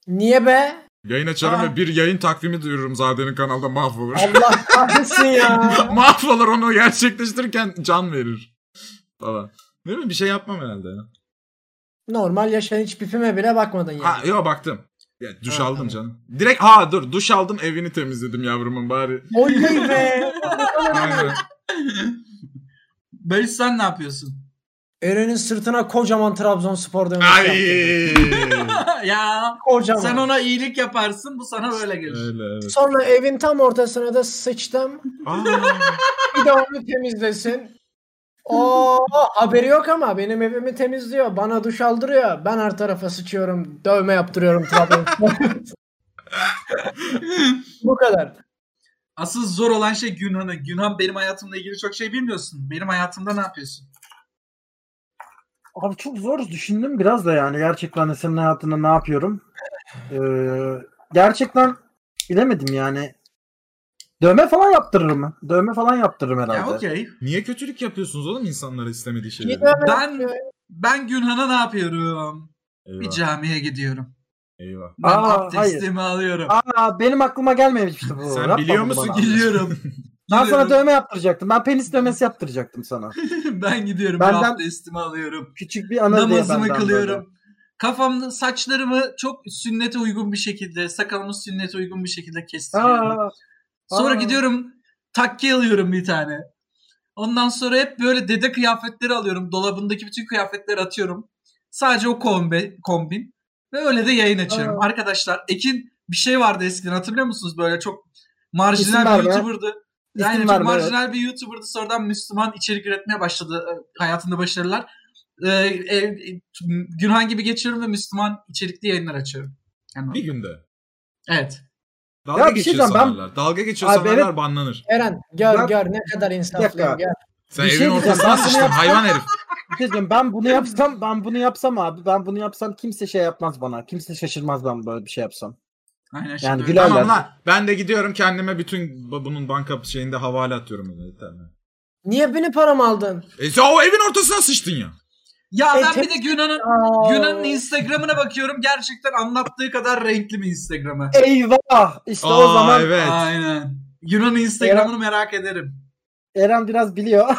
Speaker 3: Niye be?
Speaker 4: Yayın açarım ve bir yayın takvimi duyururum Zade'nin kanalda mahvolur.
Speaker 5: Allah kahretsin ya.
Speaker 4: (laughs) mahvolur onu gerçekleştirirken can verir. Falan. Değil mi? Bir şey yapmam herhalde ya.
Speaker 3: Normal yaşayan hiç pipime bile bakmadın yani.
Speaker 4: Ha, yo baktım. Ya, duş aldım canım. Direkt ha dur duş aldım evini temizledim yavrumun bari.
Speaker 3: Oley be.
Speaker 4: Aynen.
Speaker 2: Barış sen ne yapıyorsun? (laughs)
Speaker 3: Eren'in sırtına kocaman Trabzonspor
Speaker 4: (laughs)
Speaker 3: dönmesi
Speaker 4: Ay.
Speaker 3: yaptırdı.
Speaker 2: ya
Speaker 3: Kocaman.
Speaker 2: sen ona iyilik yaparsın bu sana böyle gelir.
Speaker 4: Öyle evet.
Speaker 3: Sonra evin tam ortasına da sıçtım.
Speaker 4: Aa,
Speaker 3: Bir de onu temizlesin. Oo haberi yok ama benim evimi temizliyor. Bana duş aldırıyor. Ben her tarafa sıçıyorum. Dövme yaptırıyorum Trabzonspor. (laughs) Bu kadar.
Speaker 2: Asıl zor olan şey Günhan'ı. Günhan benim hayatımla ilgili çok şey bilmiyorsun. Benim hayatımda ne yapıyorsun?
Speaker 5: Abi çok zor düşündüm biraz da yani gerçekten de senin hayatında ne yapıyorum. Ee, gerçekten bilemedim yani. Dövme falan yaptırırım. Dövme falan yaptırırım
Speaker 2: Ya
Speaker 5: herhalde.
Speaker 2: okey.
Speaker 4: niye kötülük yapıyorsunuz oğlum insanlara istemediği
Speaker 3: Bir
Speaker 4: şeyleri?
Speaker 3: dövme
Speaker 2: Ben
Speaker 3: yaptırıyor.
Speaker 2: ben Günhan'a ne yapıyorum? Bir
Speaker 4: Eyvah.
Speaker 2: camiye gidiyorum.
Speaker 4: Eyvah.
Speaker 2: Ben
Speaker 5: Aa,
Speaker 2: abdestimi alıyorum.
Speaker 5: Aa benim aklıma gelmemişti bu.
Speaker 4: Sen
Speaker 5: Yapma
Speaker 4: biliyor
Speaker 5: bunu
Speaker 4: musun
Speaker 5: bana.
Speaker 2: Gidiyorum.
Speaker 5: (laughs) Ben sana
Speaker 2: Gidiyorum.
Speaker 5: dövme yaptıracaktım. Ben penis dövmesi yaptıracaktım sana.
Speaker 2: (laughs) ben gidiyorum.
Speaker 5: Benden-
Speaker 2: Bir abdestimi alıyorum.
Speaker 5: Küçük bir ana diye
Speaker 2: Namazımı
Speaker 5: benden
Speaker 2: kılıyorum.
Speaker 5: böyle.
Speaker 2: Kafamda saçlarımı çok sünnete uygun bir şekilde, sakalımı sünnete uygun bir şekilde kestiriyorum.
Speaker 5: Aa,
Speaker 2: Sonra
Speaker 5: aa.
Speaker 2: gidiyorum takke alıyorum bir tane. Ondan sonra hep böyle dede kıyafetleri alıyorum. Dolabındaki bütün kıyafetleri atıyorum. Sadece o kombe, kombin. Ve öyle de yayın açıyorum. Arkadaşlar Ekin bir şey vardı eskiden hatırlıyor musunuz? Böyle çok
Speaker 5: İsim
Speaker 2: marjinal
Speaker 5: verme.
Speaker 2: bir YouTuber'dı. Yani
Speaker 5: İsim
Speaker 2: çok
Speaker 5: verme, evet.
Speaker 2: marjinal bir YouTuber'dı. Sonradan Müslüman içerik üretmeye başladı. Ee, Hayatında başarılar. Ee, ev- Günhan gibi geçiyorum ve Müslüman içerikli yayınlar açıyorum.
Speaker 4: Bir
Speaker 2: Yani,
Speaker 4: günde.
Speaker 2: evet.
Speaker 4: Dalga
Speaker 5: bir şey
Speaker 4: geçiyor
Speaker 5: diyeceğim, ben-
Speaker 4: sanarlar. Dalga geçiyor
Speaker 5: Abi
Speaker 4: sanarlar
Speaker 5: benim-
Speaker 4: banlanır.
Speaker 3: Eren gör
Speaker 5: Ben-
Speaker 3: gör ne kadar
Speaker 5: dakika.
Speaker 3: insaflıyım. Gör.
Speaker 4: Sen
Speaker 5: Bir şey
Speaker 4: evin
Speaker 5: diyeceğim,
Speaker 4: ortasına
Speaker 5: ben bunu
Speaker 4: sıçtın
Speaker 5: yapsam-
Speaker 4: hayvan herif.
Speaker 5: Bir şey diyeceğim, ben bunu yapsam ben bunu yapsam abi ben bunu yapsam kimse şey yapmaz bana. Kimse şaşırmaz ben böyle bir şey yapsam.
Speaker 2: Aynen şimdi
Speaker 5: Yani
Speaker 2: öyle.
Speaker 5: gülerler.
Speaker 4: Tamam lan. Ben de gidiyorum kendime bütün ba- bunun banka şeyinde havale atıyorum. öyle, Tamam.
Speaker 3: Niye beni param aldın?
Speaker 4: E sen o evin ortasına sıçtın ya.
Speaker 2: Ya
Speaker 3: E,
Speaker 2: ben bir
Speaker 3: temiz-
Speaker 2: de Günhan'ın
Speaker 3: Aa.
Speaker 2: Yunan'ın Instagram'ına bakıyorum. Gerçekten anlattığı kadar renkli bir Instagram'ı.
Speaker 5: Eyvah! İşte o
Speaker 4: Aa,
Speaker 5: zaman
Speaker 4: evet.
Speaker 2: Aynen. Yunan'ın Instagram'ını merak ederim.
Speaker 5: Eren
Speaker 2: (laughs)
Speaker 5: biraz biliyor.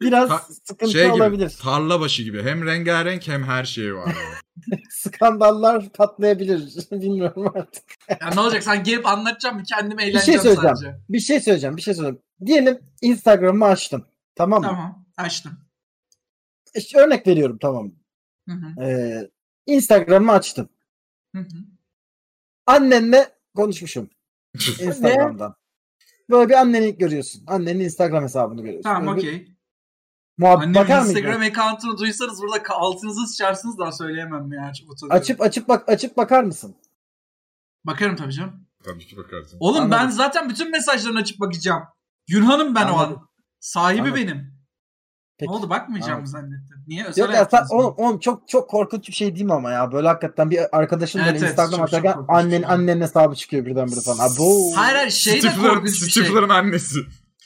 Speaker 5: biraz
Speaker 4: Ta-
Speaker 5: sıkıntı
Speaker 4: şey gibi
Speaker 5: olabilir.
Speaker 4: tarla başı gibi hem rengarenk hem her şeyi var. (laughs)
Speaker 5: Skandallar patlayabilir. (laughs) Bilmiyorum artık.
Speaker 2: Ya ne olacak? Sen gelip anlatacağım mı? Kendime
Speaker 5: şey
Speaker 2: eğleneceğim
Speaker 5: söyleyeceğim.
Speaker 2: sadece.
Speaker 5: Bir şey söyleyeceğim. Bir şey söyleyeceğim. Diyelim Instagram'ımı açtım. Tamam mı?
Speaker 2: Tamam. Açtım.
Speaker 5: İşte E, örnek veriyorum tamam mı?
Speaker 2: Hı hı,
Speaker 5: Ee, Instagram'ımı açtım.
Speaker 2: hı hı.
Speaker 5: Annenle
Speaker 2: (laughs)
Speaker 5: konuşmuşum. Instagram'dan. Böyle bir anneni görüyorsun. Annenin Instagram hesabını görüyorsun.
Speaker 2: tamam
Speaker 5: Böyle bir
Speaker 2: okey.
Speaker 5: muhabbet- bakar
Speaker 2: Annemin
Speaker 5: mıyım?
Speaker 2: Instagram account'unu duysanız burada ka- altınızı sıçarsınız daha söyleyemem ya. Çok utanıyorum.
Speaker 5: Açıp açıp bak açıp bakar mısın?
Speaker 2: Bakarım tabii canım.
Speaker 4: Tabii ki bakarsın.
Speaker 2: Oğlum ben
Speaker 5: Anladım.
Speaker 2: zaten bütün mesajlarını açıp bakacağım. Yunan'ım ben o
Speaker 5: Anladım.
Speaker 2: an. Sahibi
Speaker 5: Anladım.
Speaker 2: benim.
Speaker 5: Peki.
Speaker 2: Ne oldu bakmayacağımı
Speaker 5: Anladım.
Speaker 2: zannettim. Niye? Özel
Speaker 5: Yok ya sen,
Speaker 2: hayatınız mı?
Speaker 5: oğlum, oğlum çok çok korkunç bir şey değil mi ama ya böyle hakikaten bir arkadaşın
Speaker 2: Evet,
Speaker 5: böyle
Speaker 2: evet,
Speaker 5: Instagram
Speaker 2: çok- çok
Speaker 5: açarken
Speaker 2: korkunç bir
Speaker 5: annen
Speaker 2: şey.
Speaker 5: annenin hesabı çıkıyor birdenbire falan. Ha bu
Speaker 2: Hayır hayır şey de
Speaker 4: Stifler'ın
Speaker 2: korkunç bir şey.
Speaker 4: Stifler'ın annesi.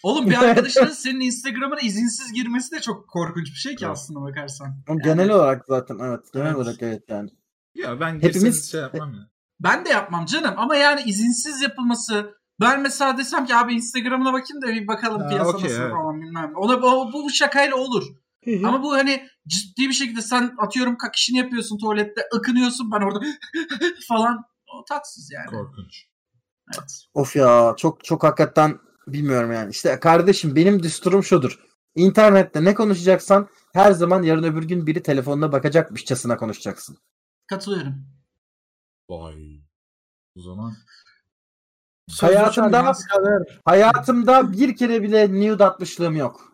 Speaker 2: Oğlum bir arkadaşının senin Instagram'ına izinsiz girmesi de çok korkunç bir şey ki
Speaker 4: Evet.
Speaker 2: aslına bakarsan.
Speaker 5: Oğlum genel olarak zaten evet genel
Speaker 2: Evet.
Speaker 5: olarak evet yani.
Speaker 4: Ya ben
Speaker 5: Hepimiz-
Speaker 4: Hepimiz... şey yapmam ya.
Speaker 2: Ben de yapmam canım ama yani izinsiz yapılması ben mesela desem ki abi Instagram'ına bakayım da bir bakalım
Speaker 4: Ha,
Speaker 2: piyasa
Speaker 4: okey,
Speaker 2: nasıl
Speaker 4: evet.
Speaker 2: falan bilmem ne. Ona, bu, bu şakayla olur. Ama bu hani ciddi bir şekilde sen atıyorum kakışını yapıyorsun tuvalette ıkınıyorsun ben orada (laughs) falan. O tatsız yani.
Speaker 4: Korkunç.
Speaker 2: Evet.
Speaker 5: Of ya çok çok hakikaten bilmiyorum yani. İşte kardeşim benim düsturum şudur. İnternette ne konuşacaksan her zaman yarın öbür gün biri telefonuna bakacakmışçasına konuşacaksın.
Speaker 2: Katılıyorum.
Speaker 4: Vay. O zaman
Speaker 5: Hayatımda hayatımda bir kere bile nude atmışlığım yok.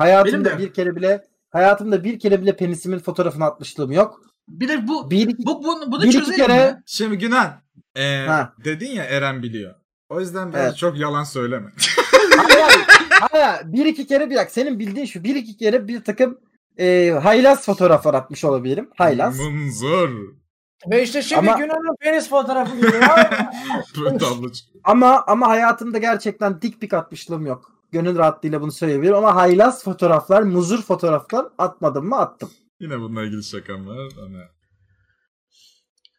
Speaker 2: Benim de.
Speaker 5: Hayatımda bir kere bile hayatımda bir kere bile penisimin fotoğrafını atmışlığım yok.
Speaker 2: Bir de bu
Speaker 5: Bir iki,
Speaker 2: bu bunu, bunu
Speaker 5: bir iki
Speaker 2: çözelim
Speaker 5: kere
Speaker 2: mi?
Speaker 4: Şimdi Günan. ee,
Speaker 5: Ha.
Speaker 4: dedin ya Eren biliyor. O yüzden ben
Speaker 5: Evet.
Speaker 4: çok yalan söyleme.
Speaker 5: hayır, hayır, hayır. bir iki kere bir dakika senin bildiğin şu bir iki kere bir takım e, haylaz fotoğraflar atmış olabilirim.
Speaker 4: (laughs)
Speaker 5: Haylaz.
Speaker 4: Mınzır.
Speaker 3: Ve işte şimdi
Speaker 5: Ama-
Speaker 3: Günan'ın penis fotoğrafı
Speaker 5: (laughs)
Speaker 3: geliyor.
Speaker 4: Böyle tablo çıkıyor.
Speaker 5: Ama ama hayatımda gerçekten dik pik atmışlığım yok. Gönül rahatlığıyla bunu söyleyebilirim ama haylaz fotoğraflar, muzur fotoğraflar atmadım mı attım.
Speaker 4: Yine bununla ilgili şakam var ama.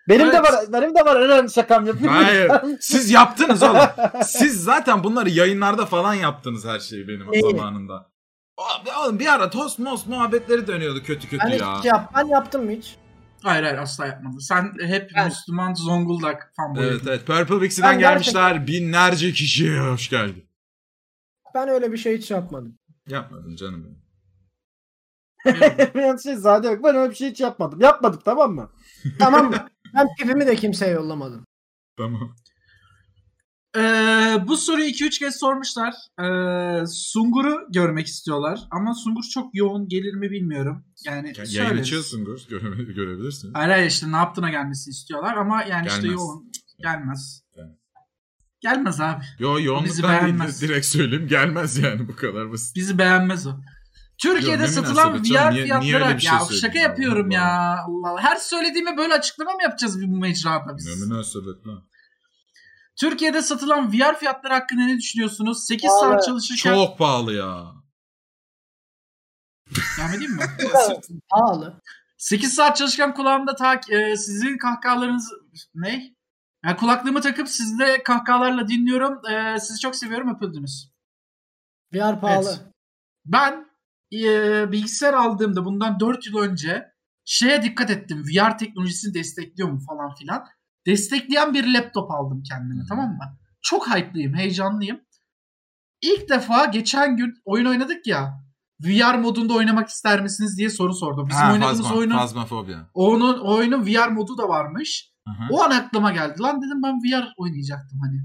Speaker 5: Benim de
Speaker 2: Evet.
Speaker 5: var benim de var önemli şakam yok. (laughs)
Speaker 2: (laughs)
Speaker 4: Hayır. Siz yaptınız oğlum. Siz zaten bunları yayınlarda falan yaptınız her şeyi benim
Speaker 3: Neyi?
Speaker 4: zamanımda. Abi, Oğlum bir ara tost most muhabbetleri dönüyordu kötü kötü
Speaker 3: ben, hiç şey
Speaker 4: ya.
Speaker 3: yap, ben yaptım mı hiç?
Speaker 2: Hayır hayır asla yapmadı. Sen hep
Speaker 3: Ben-
Speaker 2: Müslüman Zonguldak fanboyu.
Speaker 4: Evet evet Purple Bixi'den
Speaker 3: Ben
Speaker 4: gelmişler binlerce kişi hoş geldi.
Speaker 3: Ben öyle bir şey hiç yapmadım.
Speaker 4: Yapmadım canım. benim.
Speaker 5: Yanlış şey zade yok. Ben öyle bir şey hiç yapmadım. Yapmadık tamam mı?
Speaker 3: Tamam mı? Ben pipimi de kimseye yollamadım.
Speaker 4: Tamam.
Speaker 2: Ee, bu soruyu 2-3 kez sormuşlar. Ee, Sungur'u görmek istiyorlar. Ama Sungur çok yoğun gelir mi bilmiyorum. Yani
Speaker 4: Ya, yayın
Speaker 2: söyleriz.
Speaker 4: açıyorsun Gur. göre- Görebilirsin.
Speaker 2: Hayır hayır işte ne yaptığına gelmesini istiyorlar ama yani işte
Speaker 4: Gelmez.
Speaker 2: yoğun. Gelmez.
Speaker 4: Gelmez.
Speaker 2: Gelmez abi.
Speaker 4: Yo
Speaker 2: Bizi
Speaker 4: yoğunluktan değil
Speaker 2: beğenmez.
Speaker 4: direkt söyleyeyim gelmez yani bu kadar basit.
Speaker 2: Bizi beğenmez o.
Speaker 4: Yok,
Speaker 2: Türkiye'de
Speaker 4: ne
Speaker 2: satılan VR
Speaker 4: münasebet canım, niye- niye
Speaker 2: fiyatları
Speaker 4: öyle bir şey
Speaker 2: ya
Speaker 4: söyledin
Speaker 2: şaka
Speaker 4: ya?
Speaker 2: yapıyorum
Speaker 4: Allah
Speaker 2: ya. Allah Allah. Her söylediğime böyle açıklama mı yapacağız bu mecrada biz?
Speaker 4: Ne münasebet lan.
Speaker 2: Türkiye'de satılan VR fiyatları hakkında ne düşünüyorsunuz? 8
Speaker 3: Vallahi
Speaker 2: saat çalışırken
Speaker 4: Çok pahalı ya.
Speaker 2: devam edeyim mi?
Speaker 3: Pahalı.
Speaker 2: 8 saat çalışırken kulağımda ta e, sizin kahkahalarınız ne? Ya kulaklığımı takıp sizde kahkahalarla dinliyorum. E, sizi çok seviyorum öpüldünüz.
Speaker 3: VR pahalı.
Speaker 2: Ben e, bilgisayar aldığımda bundan 4 yıl önce şeye dikkat ettim. VR teknolojisini destekliyor mu falan filan. Destekleyen bir laptop aldım kendime tamam mı? Çok hype'lıyım, heyecanlıyım. İlk defa geçen gün oyun oynadık ya. VR modunda oynamak ister misiniz diye soru sordum. Bizim
Speaker 4: Ha,
Speaker 2: oynadığımız
Speaker 4: fazma,
Speaker 2: oyunun
Speaker 4: Fazmafobia.
Speaker 2: onun oyunun VR modu da varmış.
Speaker 4: Hı hı.
Speaker 2: O an aklıma geldi. Lan dedim ben VR oynayacaktım hani.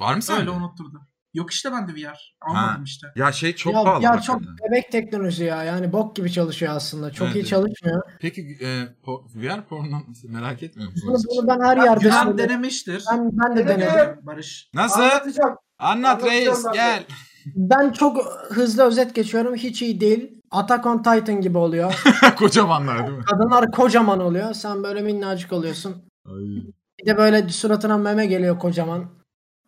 Speaker 4: Var mı sende?
Speaker 2: Öyle unutturdu. Yok işte ben de VR. Almadım işte.
Speaker 4: Ya şey çok
Speaker 3: ya,
Speaker 4: pahalı.
Speaker 3: ya çok
Speaker 4: hakikaten.
Speaker 3: bebek teknoloji ya. Yani bok gibi çalışıyor aslında. Çok
Speaker 4: Evet,
Speaker 3: iyi
Speaker 4: evet.
Speaker 3: çalışmıyor.
Speaker 4: Peki e, po- VR porno (laughs) merak etmiyor
Speaker 3: Bunu,
Speaker 4: musunuz?
Speaker 3: bunu ben her
Speaker 2: Ben
Speaker 3: yerde
Speaker 2: Güven
Speaker 3: söylüyorum.
Speaker 2: denemiştir.
Speaker 3: Ben, ben de denedim.
Speaker 2: Barış.
Speaker 4: Nasıl?
Speaker 6: Anlatacağım.
Speaker 4: Anlat reis
Speaker 6: Anlatacağım ben de.
Speaker 4: gel. (laughs)
Speaker 3: Ben çok hızlı özet geçiyorum. Hiç iyi değil. Attack on Titan gibi oluyor.
Speaker 4: Kocamanlar değil mi?
Speaker 3: Kadınlar kocaman oluyor. Sen böyle minnacık oluyorsun. Bir de böyle suratına meme geliyor kocaman.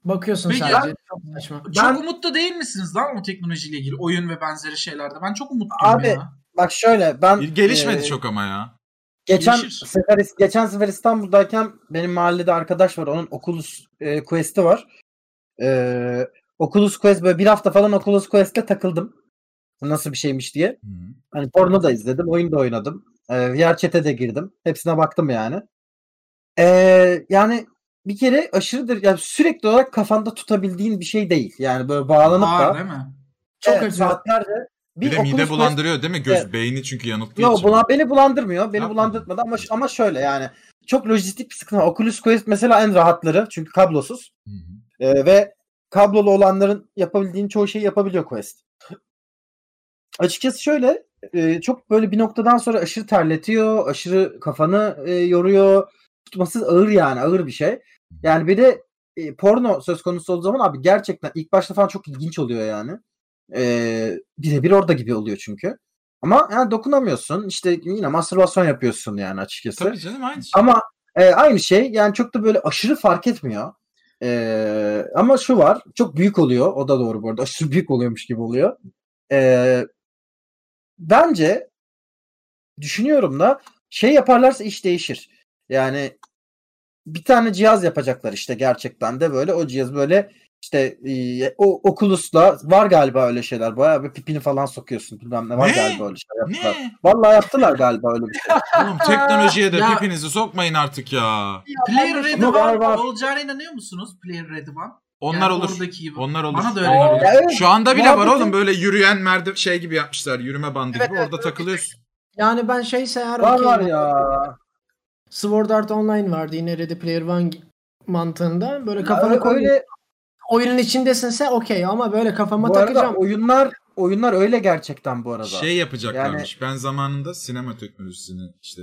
Speaker 3: Bakıyorsun
Speaker 2: Peki,
Speaker 3: sadece. Çok saçma.
Speaker 5: Ben-
Speaker 2: Çok umutlu değil misiniz lan o teknolojiyle ilgili oyun ve benzeri şeylerde? Ben çok umutluyum
Speaker 5: Abi,
Speaker 2: ya.
Speaker 5: Bak şöyle ben
Speaker 4: Gelişmedi
Speaker 5: e,
Speaker 4: çok ama ya.
Speaker 5: Geçen
Speaker 2: Gelişir.
Speaker 5: sefer, geçen sefer İstanbul'dayken benim mahallede arkadaş var. Onun Oculus e, Quest'i var. E, Oculus Quest böyle bir hafta falan Oculus Quest'le takıldım. Bu Nasıl bir şeymiş diye.
Speaker 4: Hı.
Speaker 5: Hani porno da izledim, oyun da oynadım. E, VR chat'e de girdim. Hepsine baktım yani. E, yani bir kere aşırıdır yani sürekli olarak kafanda tutabildiğin bir şey değil. Yani böyle bağlanıp
Speaker 2: Var
Speaker 5: da
Speaker 2: değil mi?
Speaker 3: Çok
Speaker 5: evet,
Speaker 3: acı.
Speaker 5: saatlerce bir,
Speaker 4: Bir, de
Speaker 5: Oculus
Speaker 4: mide
Speaker 5: Quest-
Speaker 4: bulandırıyor değil mi? Göz
Speaker 5: Evet.
Speaker 4: beyni çünkü yanılttığı
Speaker 5: Yo
Speaker 4: için.
Speaker 5: bulan, beni bulandırmıyor. Beni
Speaker 4: Yapma.
Speaker 5: bulandırtmadı ama ş- ama şöyle yani çok lojistik bir sıkıntı var. Oculus Quest mesela en rahatları çünkü kablosuz.
Speaker 4: Hı hı.
Speaker 5: Ee, ve kablolu olanların yapabildiğin çoğu şeyi yapabiliyor Quest. Açıkçası şöyle e, çok böyle bir noktadan sonra aşırı terletiyor, aşırı kafanı e, yoruyor. Tutması ağır yani ağır bir şey. Yani bir de e, porno söz konusu olduğu zaman abi gerçekten ilk başta falan çok ilginç oluyor yani. Ee, birebir orada gibi oluyor çünkü. Ama yani dokunamıyorsun. İşte yine mastürbasyon yapıyorsun yani açıkçası.
Speaker 4: Tabii canım aynı şey.
Speaker 5: Ama e, aynı şey yani çok da böyle aşırı fark etmiyor. Ee, ama şu var çok büyük oluyor o da doğru bu arada aşırı büyük oluyormuş gibi oluyor. Ee, bence düşünüyorum da şey yaparlarsa iş değişir. Yani bir tane cihaz yapacaklar işte gerçekten de böyle o cihaz böyle işte e, o Oculus'la var galiba öyle şeyler bayağı bir pipini falan sokuyorsun bilmem ne var
Speaker 4: Ne?
Speaker 5: galiba öyle şeyler yaptılar.
Speaker 4: Ne?
Speaker 5: Vallahi yaptılar galiba öyle bir şey.
Speaker 4: Oğlum teknolojiye de
Speaker 2: Ya-
Speaker 4: pipinizi sokmayın artık ya.
Speaker 2: Player Ready
Speaker 5: Ama var,
Speaker 2: One
Speaker 5: var.
Speaker 2: olacağına inanıyor musunuz? Player Ready One.
Speaker 4: Onlar
Speaker 2: Yani
Speaker 4: olur.
Speaker 2: Oradaki gibi.
Speaker 4: Onlar olur.
Speaker 2: Bana da öyle geliyor.
Speaker 5: Ya evet,
Speaker 4: Şu anda bile var
Speaker 5: Muhabbetin-
Speaker 4: oğlum böyle yürüyen merdiven şey gibi yapmışlar. Yürüme bandı
Speaker 3: Evet,
Speaker 4: gibi
Speaker 3: evet,
Speaker 4: orada
Speaker 3: evet.
Speaker 4: takılıyorsun.
Speaker 3: Yani ben şeyse her
Speaker 5: var
Speaker 3: okey
Speaker 5: var
Speaker 3: ben-
Speaker 5: ya.
Speaker 3: Sword Art Online vardı yine Ready Player One mantığında. Böyle kafanı
Speaker 5: Öyle-
Speaker 3: koy.
Speaker 5: öyle
Speaker 3: Oyunun içindesin sen okey ama böyle kafama
Speaker 5: bu arada
Speaker 3: takacağım.
Speaker 5: oyunlar oyunlar öyle gerçekten bu arada.
Speaker 4: Şey yapacaklarmış. Ben zamanında sinema teknolojisini işte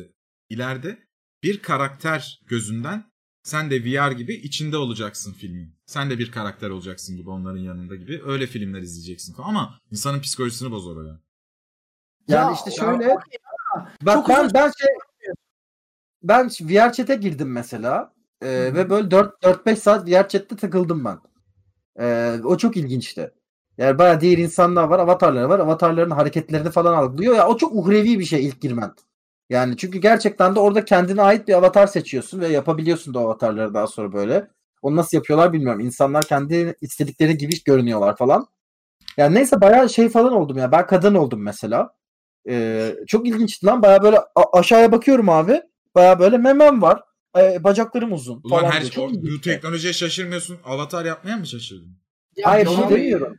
Speaker 4: ileride bir karakter gözünden sen de VR gibi içinde olacaksın filmin. Sen de bir karakter olacaksın gibi onların yanında gibi. Öyle filmler izleyeceksin falan ama insanın psikolojisini bozar o ya.
Speaker 5: yani
Speaker 3: Ya,
Speaker 5: işte
Speaker 3: ya,
Speaker 5: şöyle
Speaker 3: okey.
Speaker 5: bak
Speaker 3: çok
Speaker 5: ben
Speaker 3: uzun
Speaker 5: ben şey ben VR chat'e girdim mesela. Ee, ve böyle 4 4-5 saat VR chat'te takıldım ben. Ee, o çok ilginçti. Yani bayağı diğer insanlar var, avatarlar var. Avatarların hareketlerini falan algılıyor. Ya o çok uhrevi bir şey ilk girmen. Yani çünkü gerçekten de orada kendine ait bir avatar seçiyorsun ve yapabiliyorsun da o avatarları daha sonra böyle. Onu nasıl yapıyorlar bilmiyorum. İnsanlar kendi istedikleri gibi görünüyorlar falan. Yani neyse bayağı şey falan oldum ya. Ben kadın oldum mesela. Ee, çok ilginçti lan. Bayağı böyle a- aşağıya bakıyorum abi. Bayağı böyle memem var. Ee, bacaklarım uzun
Speaker 4: Ulan
Speaker 5: falan.
Speaker 4: her şey
Speaker 5: diyor. Çok şey.
Speaker 4: o- bu
Speaker 5: ilginçti.
Speaker 4: teknolojiye şaşırmıyorsun. Avatar yapmaya mı şaşırdın?
Speaker 3: Ya
Speaker 5: Hayır
Speaker 3: John
Speaker 5: şey
Speaker 3: Wayne.
Speaker 5: demiyorum.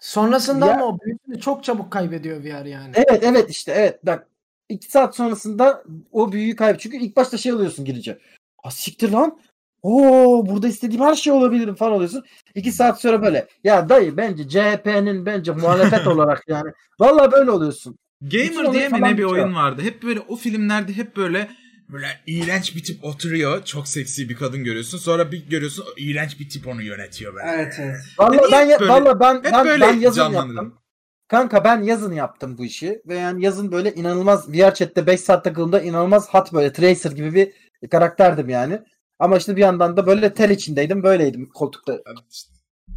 Speaker 3: Sonrasında
Speaker 5: Ya-
Speaker 3: ama o büyüsünü çok çabuk kaybediyor VR yani.
Speaker 5: Evet evet işte evet. Bak iki saat sonrasında o büyüyü kayb. Çünkü ilk başta şey oluyorsun girince. Ha siktir lan. Oo burada istediğim her şey olabilirim falan oluyorsun. İki saat sonra böyle. Ya dayı bence CHP'nin
Speaker 4: (laughs)
Speaker 5: bence muhalefet olarak yani. Vallahi böyle oluyorsun. Bütün
Speaker 4: Gamer
Speaker 5: olay
Speaker 4: diye mi
Speaker 5: falan
Speaker 4: ne bir
Speaker 5: bitiyor.
Speaker 4: oyun vardı. Hep böyle o filmlerde hep böyle böyle iğrenç bir tip oturuyor. Çok seksi bir kadın görüyorsun. Sonra bir görüyorsun iğrenç bir tip onu yönetiyor böyle.
Speaker 2: Evet evet.
Speaker 5: Vallahi
Speaker 4: Hani Hep
Speaker 5: ben ya-
Speaker 4: böyle-
Speaker 5: vallahi ben
Speaker 4: Hep
Speaker 5: ben,
Speaker 4: böyle
Speaker 5: ben yazın
Speaker 4: canlandırdım.
Speaker 5: yaptım. Kanka ben yazın yaptım bu işi ve yani yazın böyle inanılmaz VR chat'te 5 saat takıldığımda inanılmaz hat böyle Tracer gibi bir karakterdim yani. Ama işte bir yandan da böyle tel içindeydim böyleydim koltukta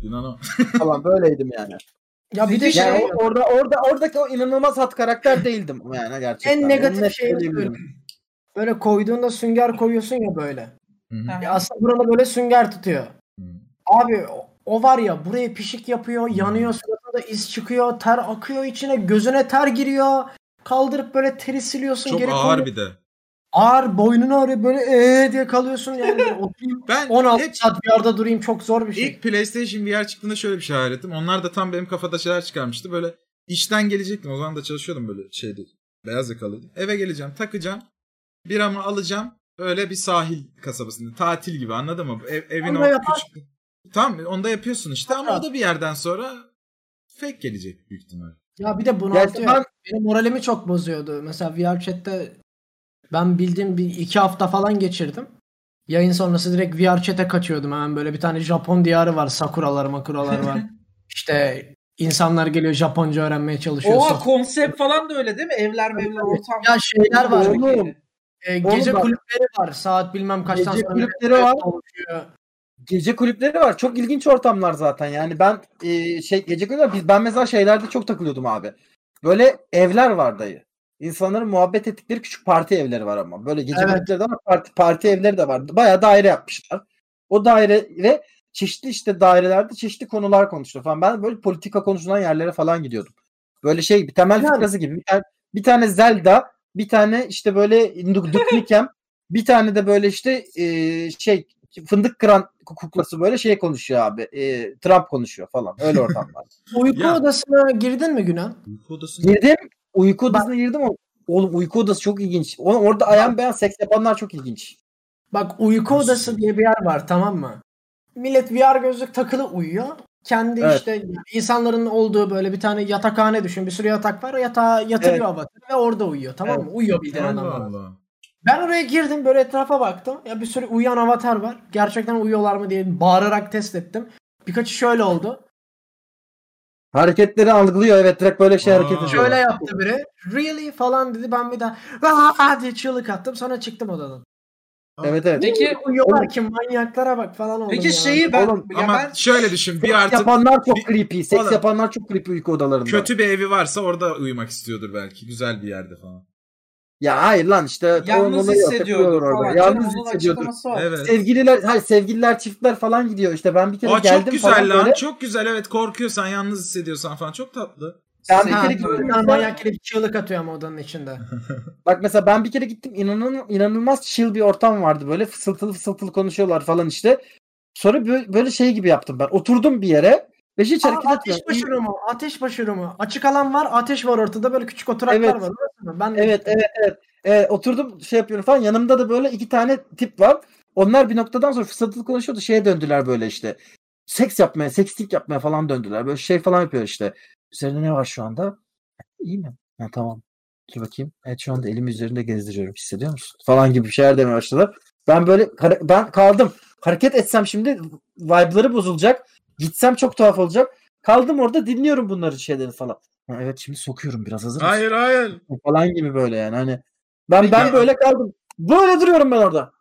Speaker 4: İnanam.
Speaker 5: falan böyleydim yani.
Speaker 3: Ya bir de şey
Speaker 5: Yani o- orada orada oradaki o inanılmaz hat karakter değildim yani gerçekten.
Speaker 3: En
Speaker 5: Onu
Speaker 3: negatif
Speaker 5: net
Speaker 3: şeyini
Speaker 5: söyleyebilirim.
Speaker 3: böyle koyduğunda sünger koyuyorsun ya böyle.
Speaker 4: Hı
Speaker 3: Ya aslında buranı böyle sünger tutuyor.
Speaker 4: Hı.
Speaker 3: Abi o- o var ya burayı pişik yapıyor,
Speaker 5: Hmm.
Speaker 3: yanıyor suratında iz çıkıyor, ter akıyor içine, gözüne ter giriyor. Kaldırıp böyle teri siliyorsun
Speaker 4: Çok
Speaker 3: geri
Speaker 4: ağır
Speaker 3: koyuyorsun.
Speaker 4: bir de.
Speaker 3: Ağır boynunu ağrıyor böyle ee diye kalıyorsun yani.
Speaker 5: (laughs)
Speaker 3: Böyle Oturayım 16
Speaker 4: hep-
Speaker 3: saat bir arada durayım çok zor bir şey.
Speaker 4: İlk PlayStation VR çıktığında şöyle bir şey hayal ettim. Onlar da tam benim kafada şeyler çıkarmıştı. Böyle işten gelecektim. O zaman da çalışıyordum böyle şeydi. Beyaz yakalıydım. Eve geleceğim, takacağım. Biramı alacağım. Böyle bir sahil kasabasında. Tatil gibi anladın mı? Ev, evin
Speaker 3: Onu
Speaker 4: o
Speaker 3: yapar-
Speaker 4: küçük... Tamam onu da yapıyorsun işte ama o da bir yerden sonra fake gelecek büyük ihtimal.
Speaker 3: Ya bir de bunu
Speaker 5: Gerçi
Speaker 3: atıyor.
Speaker 5: ben-
Speaker 3: Benim moralimi çok bozuyordu. Mesela VR chat'te ben bildiğim bir iki hafta falan geçirdim. Yayın sonrası direkt VR chat'e kaçıyordum hemen böyle bir tane Japon diyarı var. Sakuralar makuralar
Speaker 5: (laughs)
Speaker 3: var. işte insanlar geliyor Japonca öğrenmeye çalışıyor.
Speaker 2: Oha
Speaker 3: Sok-
Speaker 2: konsept falan da öyle değil mi? Evler mevler ortam.
Speaker 3: ya şeyler var.
Speaker 5: Oğlum,
Speaker 3: e, gece
Speaker 5: oğlum bak.
Speaker 3: kulüpleri var. Saat bilmem kaçtan
Speaker 5: Gece
Speaker 3: sonra
Speaker 5: kulüpleri
Speaker 3: millet
Speaker 5: var.
Speaker 3: toplanıyor.
Speaker 5: Gece kulüpleri var. Çok ilginç ortamlar zaten. Yani ben e, şey gece kulüpleri biz ben mesela şeylerde çok takılıyordum abi. Böyle evler var dayı. İnsanların muhabbet ettikleri küçük parti evleri var ama. Böyle gece
Speaker 3: Evet.
Speaker 5: kulüpleri de var, parti, parti evleri de var. Bayağı daire yapmışlar. O daire ve çeşitli işte dairelerde çeşitli konular konuşuyor falan. Ben böyle politika konuşulan yerlere falan gidiyordum. Böyle şey bir temel
Speaker 3: Yani.
Speaker 5: fıkrası gibi. Bir tane, bir tane Zelda, bir tane işte böyle
Speaker 3: (laughs)
Speaker 5: Duke Duke Nukem, bir tane de böyle işte e, şey fındık kıran kuklası böyle şey konuşuyor abi. E, Trump konuşuyor falan. Öyle ortamlar.
Speaker 3: Uyku
Speaker 4: Ya.
Speaker 3: odasına girdin mi Günan?
Speaker 4: Uyku odasında
Speaker 5: girdim. Uyku odasına girdim. ama- Oğlum uyku odası çok ilginç. O- Orada ayan beyan seks yapanlar çok ilginç.
Speaker 3: Bak uyku odası diye bir yer var tamam mı? Millet VR gözlük takılı uyuyor. Kendi
Speaker 5: Evet.
Speaker 3: işte insanların olduğu böyle bir tane yatakhane düşün. Bir sürü yatak var. O yatağa yatırıyor
Speaker 5: Evet.
Speaker 3: avatar ve orada uyuyor tamam mı? Uyuyor bildiğin
Speaker 4: Allah
Speaker 3: adamlar.
Speaker 4: Allah.
Speaker 3: Ben oraya girdim böyle etrafa baktım. Ya bir sürü uyuyan avatar var. Gerçekten uyuyorlar mı diye bağırarak test ettim. Birkaçı şöyle oldu.
Speaker 5: Hareketleri algılıyor evet direkt böyle şey
Speaker 4: Aa.
Speaker 5: hareket ediyor.
Speaker 3: Şöyle yaptı biri. Really falan dedi. Ben bir daha "Aa!" diye çığlık attım. Sonra çıktım odadan.
Speaker 5: Evet evet.
Speaker 2: Peki
Speaker 3: Uyuyorlar ki manyaklara bak falan oldu.
Speaker 2: peki şeyi ben
Speaker 5: Oğlum,
Speaker 2: ya
Speaker 4: ama
Speaker 2: ben
Speaker 4: şöyle düşün. Bir
Speaker 5: Seks
Speaker 4: artık
Speaker 5: yapanlar çok
Speaker 4: bir-
Speaker 5: creepy. Seks
Speaker 4: Oğlum.
Speaker 5: yapanlar çok creepy uyku odalarında.
Speaker 4: kötü bir evi varsa orada uyumak istiyordur belki. Güzel bir yerde falan.
Speaker 5: Ya hayır lan işte.
Speaker 2: yalnız
Speaker 5: torunları yok,
Speaker 2: hissediyordu
Speaker 5: yapıyorlar orada.
Speaker 2: falan.
Speaker 5: Yalnız
Speaker 2: Onun
Speaker 5: hissediyordu.
Speaker 2: açıklaması var.
Speaker 4: Evet.
Speaker 5: Sevgililer, hayır sevgililer çiftler falan gidiyor işte. Ben bir kere
Speaker 4: Aa,
Speaker 5: geldim
Speaker 4: çok güzel
Speaker 5: falan
Speaker 4: lan.
Speaker 5: böyle.
Speaker 4: Çok güzel evet. Korkuyorsan, yalnız hissediyorsan falan çok tatlı.
Speaker 5: Ben bir
Speaker 2: Ha,
Speaker 5: kere
Speaker 2: doğru.
Speaker 5: gittim.
Speaker 3: Bir tane manyak gelip çığlık atıyor ama odanın içinde.
Speaker 5: Bak mesela ben bir kere gittim inanın, inanılmaz chill bir ortam vardı böyle fısıltılı fısıltılı konuşuyorlar falan işte. Sonra bö- böyle, şey gibi yaptım ben. Oturdum bir yere ve hiç
Speaker 3: Aa,
Speaker 5: hareket
Speaker 3: ateş
Speaker 5: etmiyorum.
Speaker 3: başı rumu, ateş başı rumu. Açık alan var, ateş var ortada böyle küçük oturaklar
Speaker 5: Evet.
Speaker 3: var. orası mı? Ben de
Speaker 5: Evet evet evet. Ee, oturdum şey yapıyorum falan yanımda da böyle iki tane tip var. Onlar bir noktadan sonra fısıltılı konuşuyordu şeye döndüler böyle işte. Seks yapmaya, seksting yapmaya falan döndüler. Böyle şey falan yapıyor işte. Üzerinde ne var şu anda? İyi mi? Ha, tamam. Dur bakayım. Evet şu anda elimi üzerinde gezdiriyorum. Hissediyor musun? Falan gibi bir şeyler demeye başladılar. Ben böyle hare- ben kaldım. Hareket etsem şimdi vibe'ları bozulacak. Gitsem çok tuhaf olacak. Kaldım orada dinliyorum bunların şeylerini falan. Ha, evet şimdi sokuyorum biraz hazır mısın?
Speaker 4: Hayır hayır.
Speaker 5: falan gibi böyle yani hani ben
Speaker 4: Peki-
Speaker 5: ben böyle kaldım. Böyle duruyorum ben orada.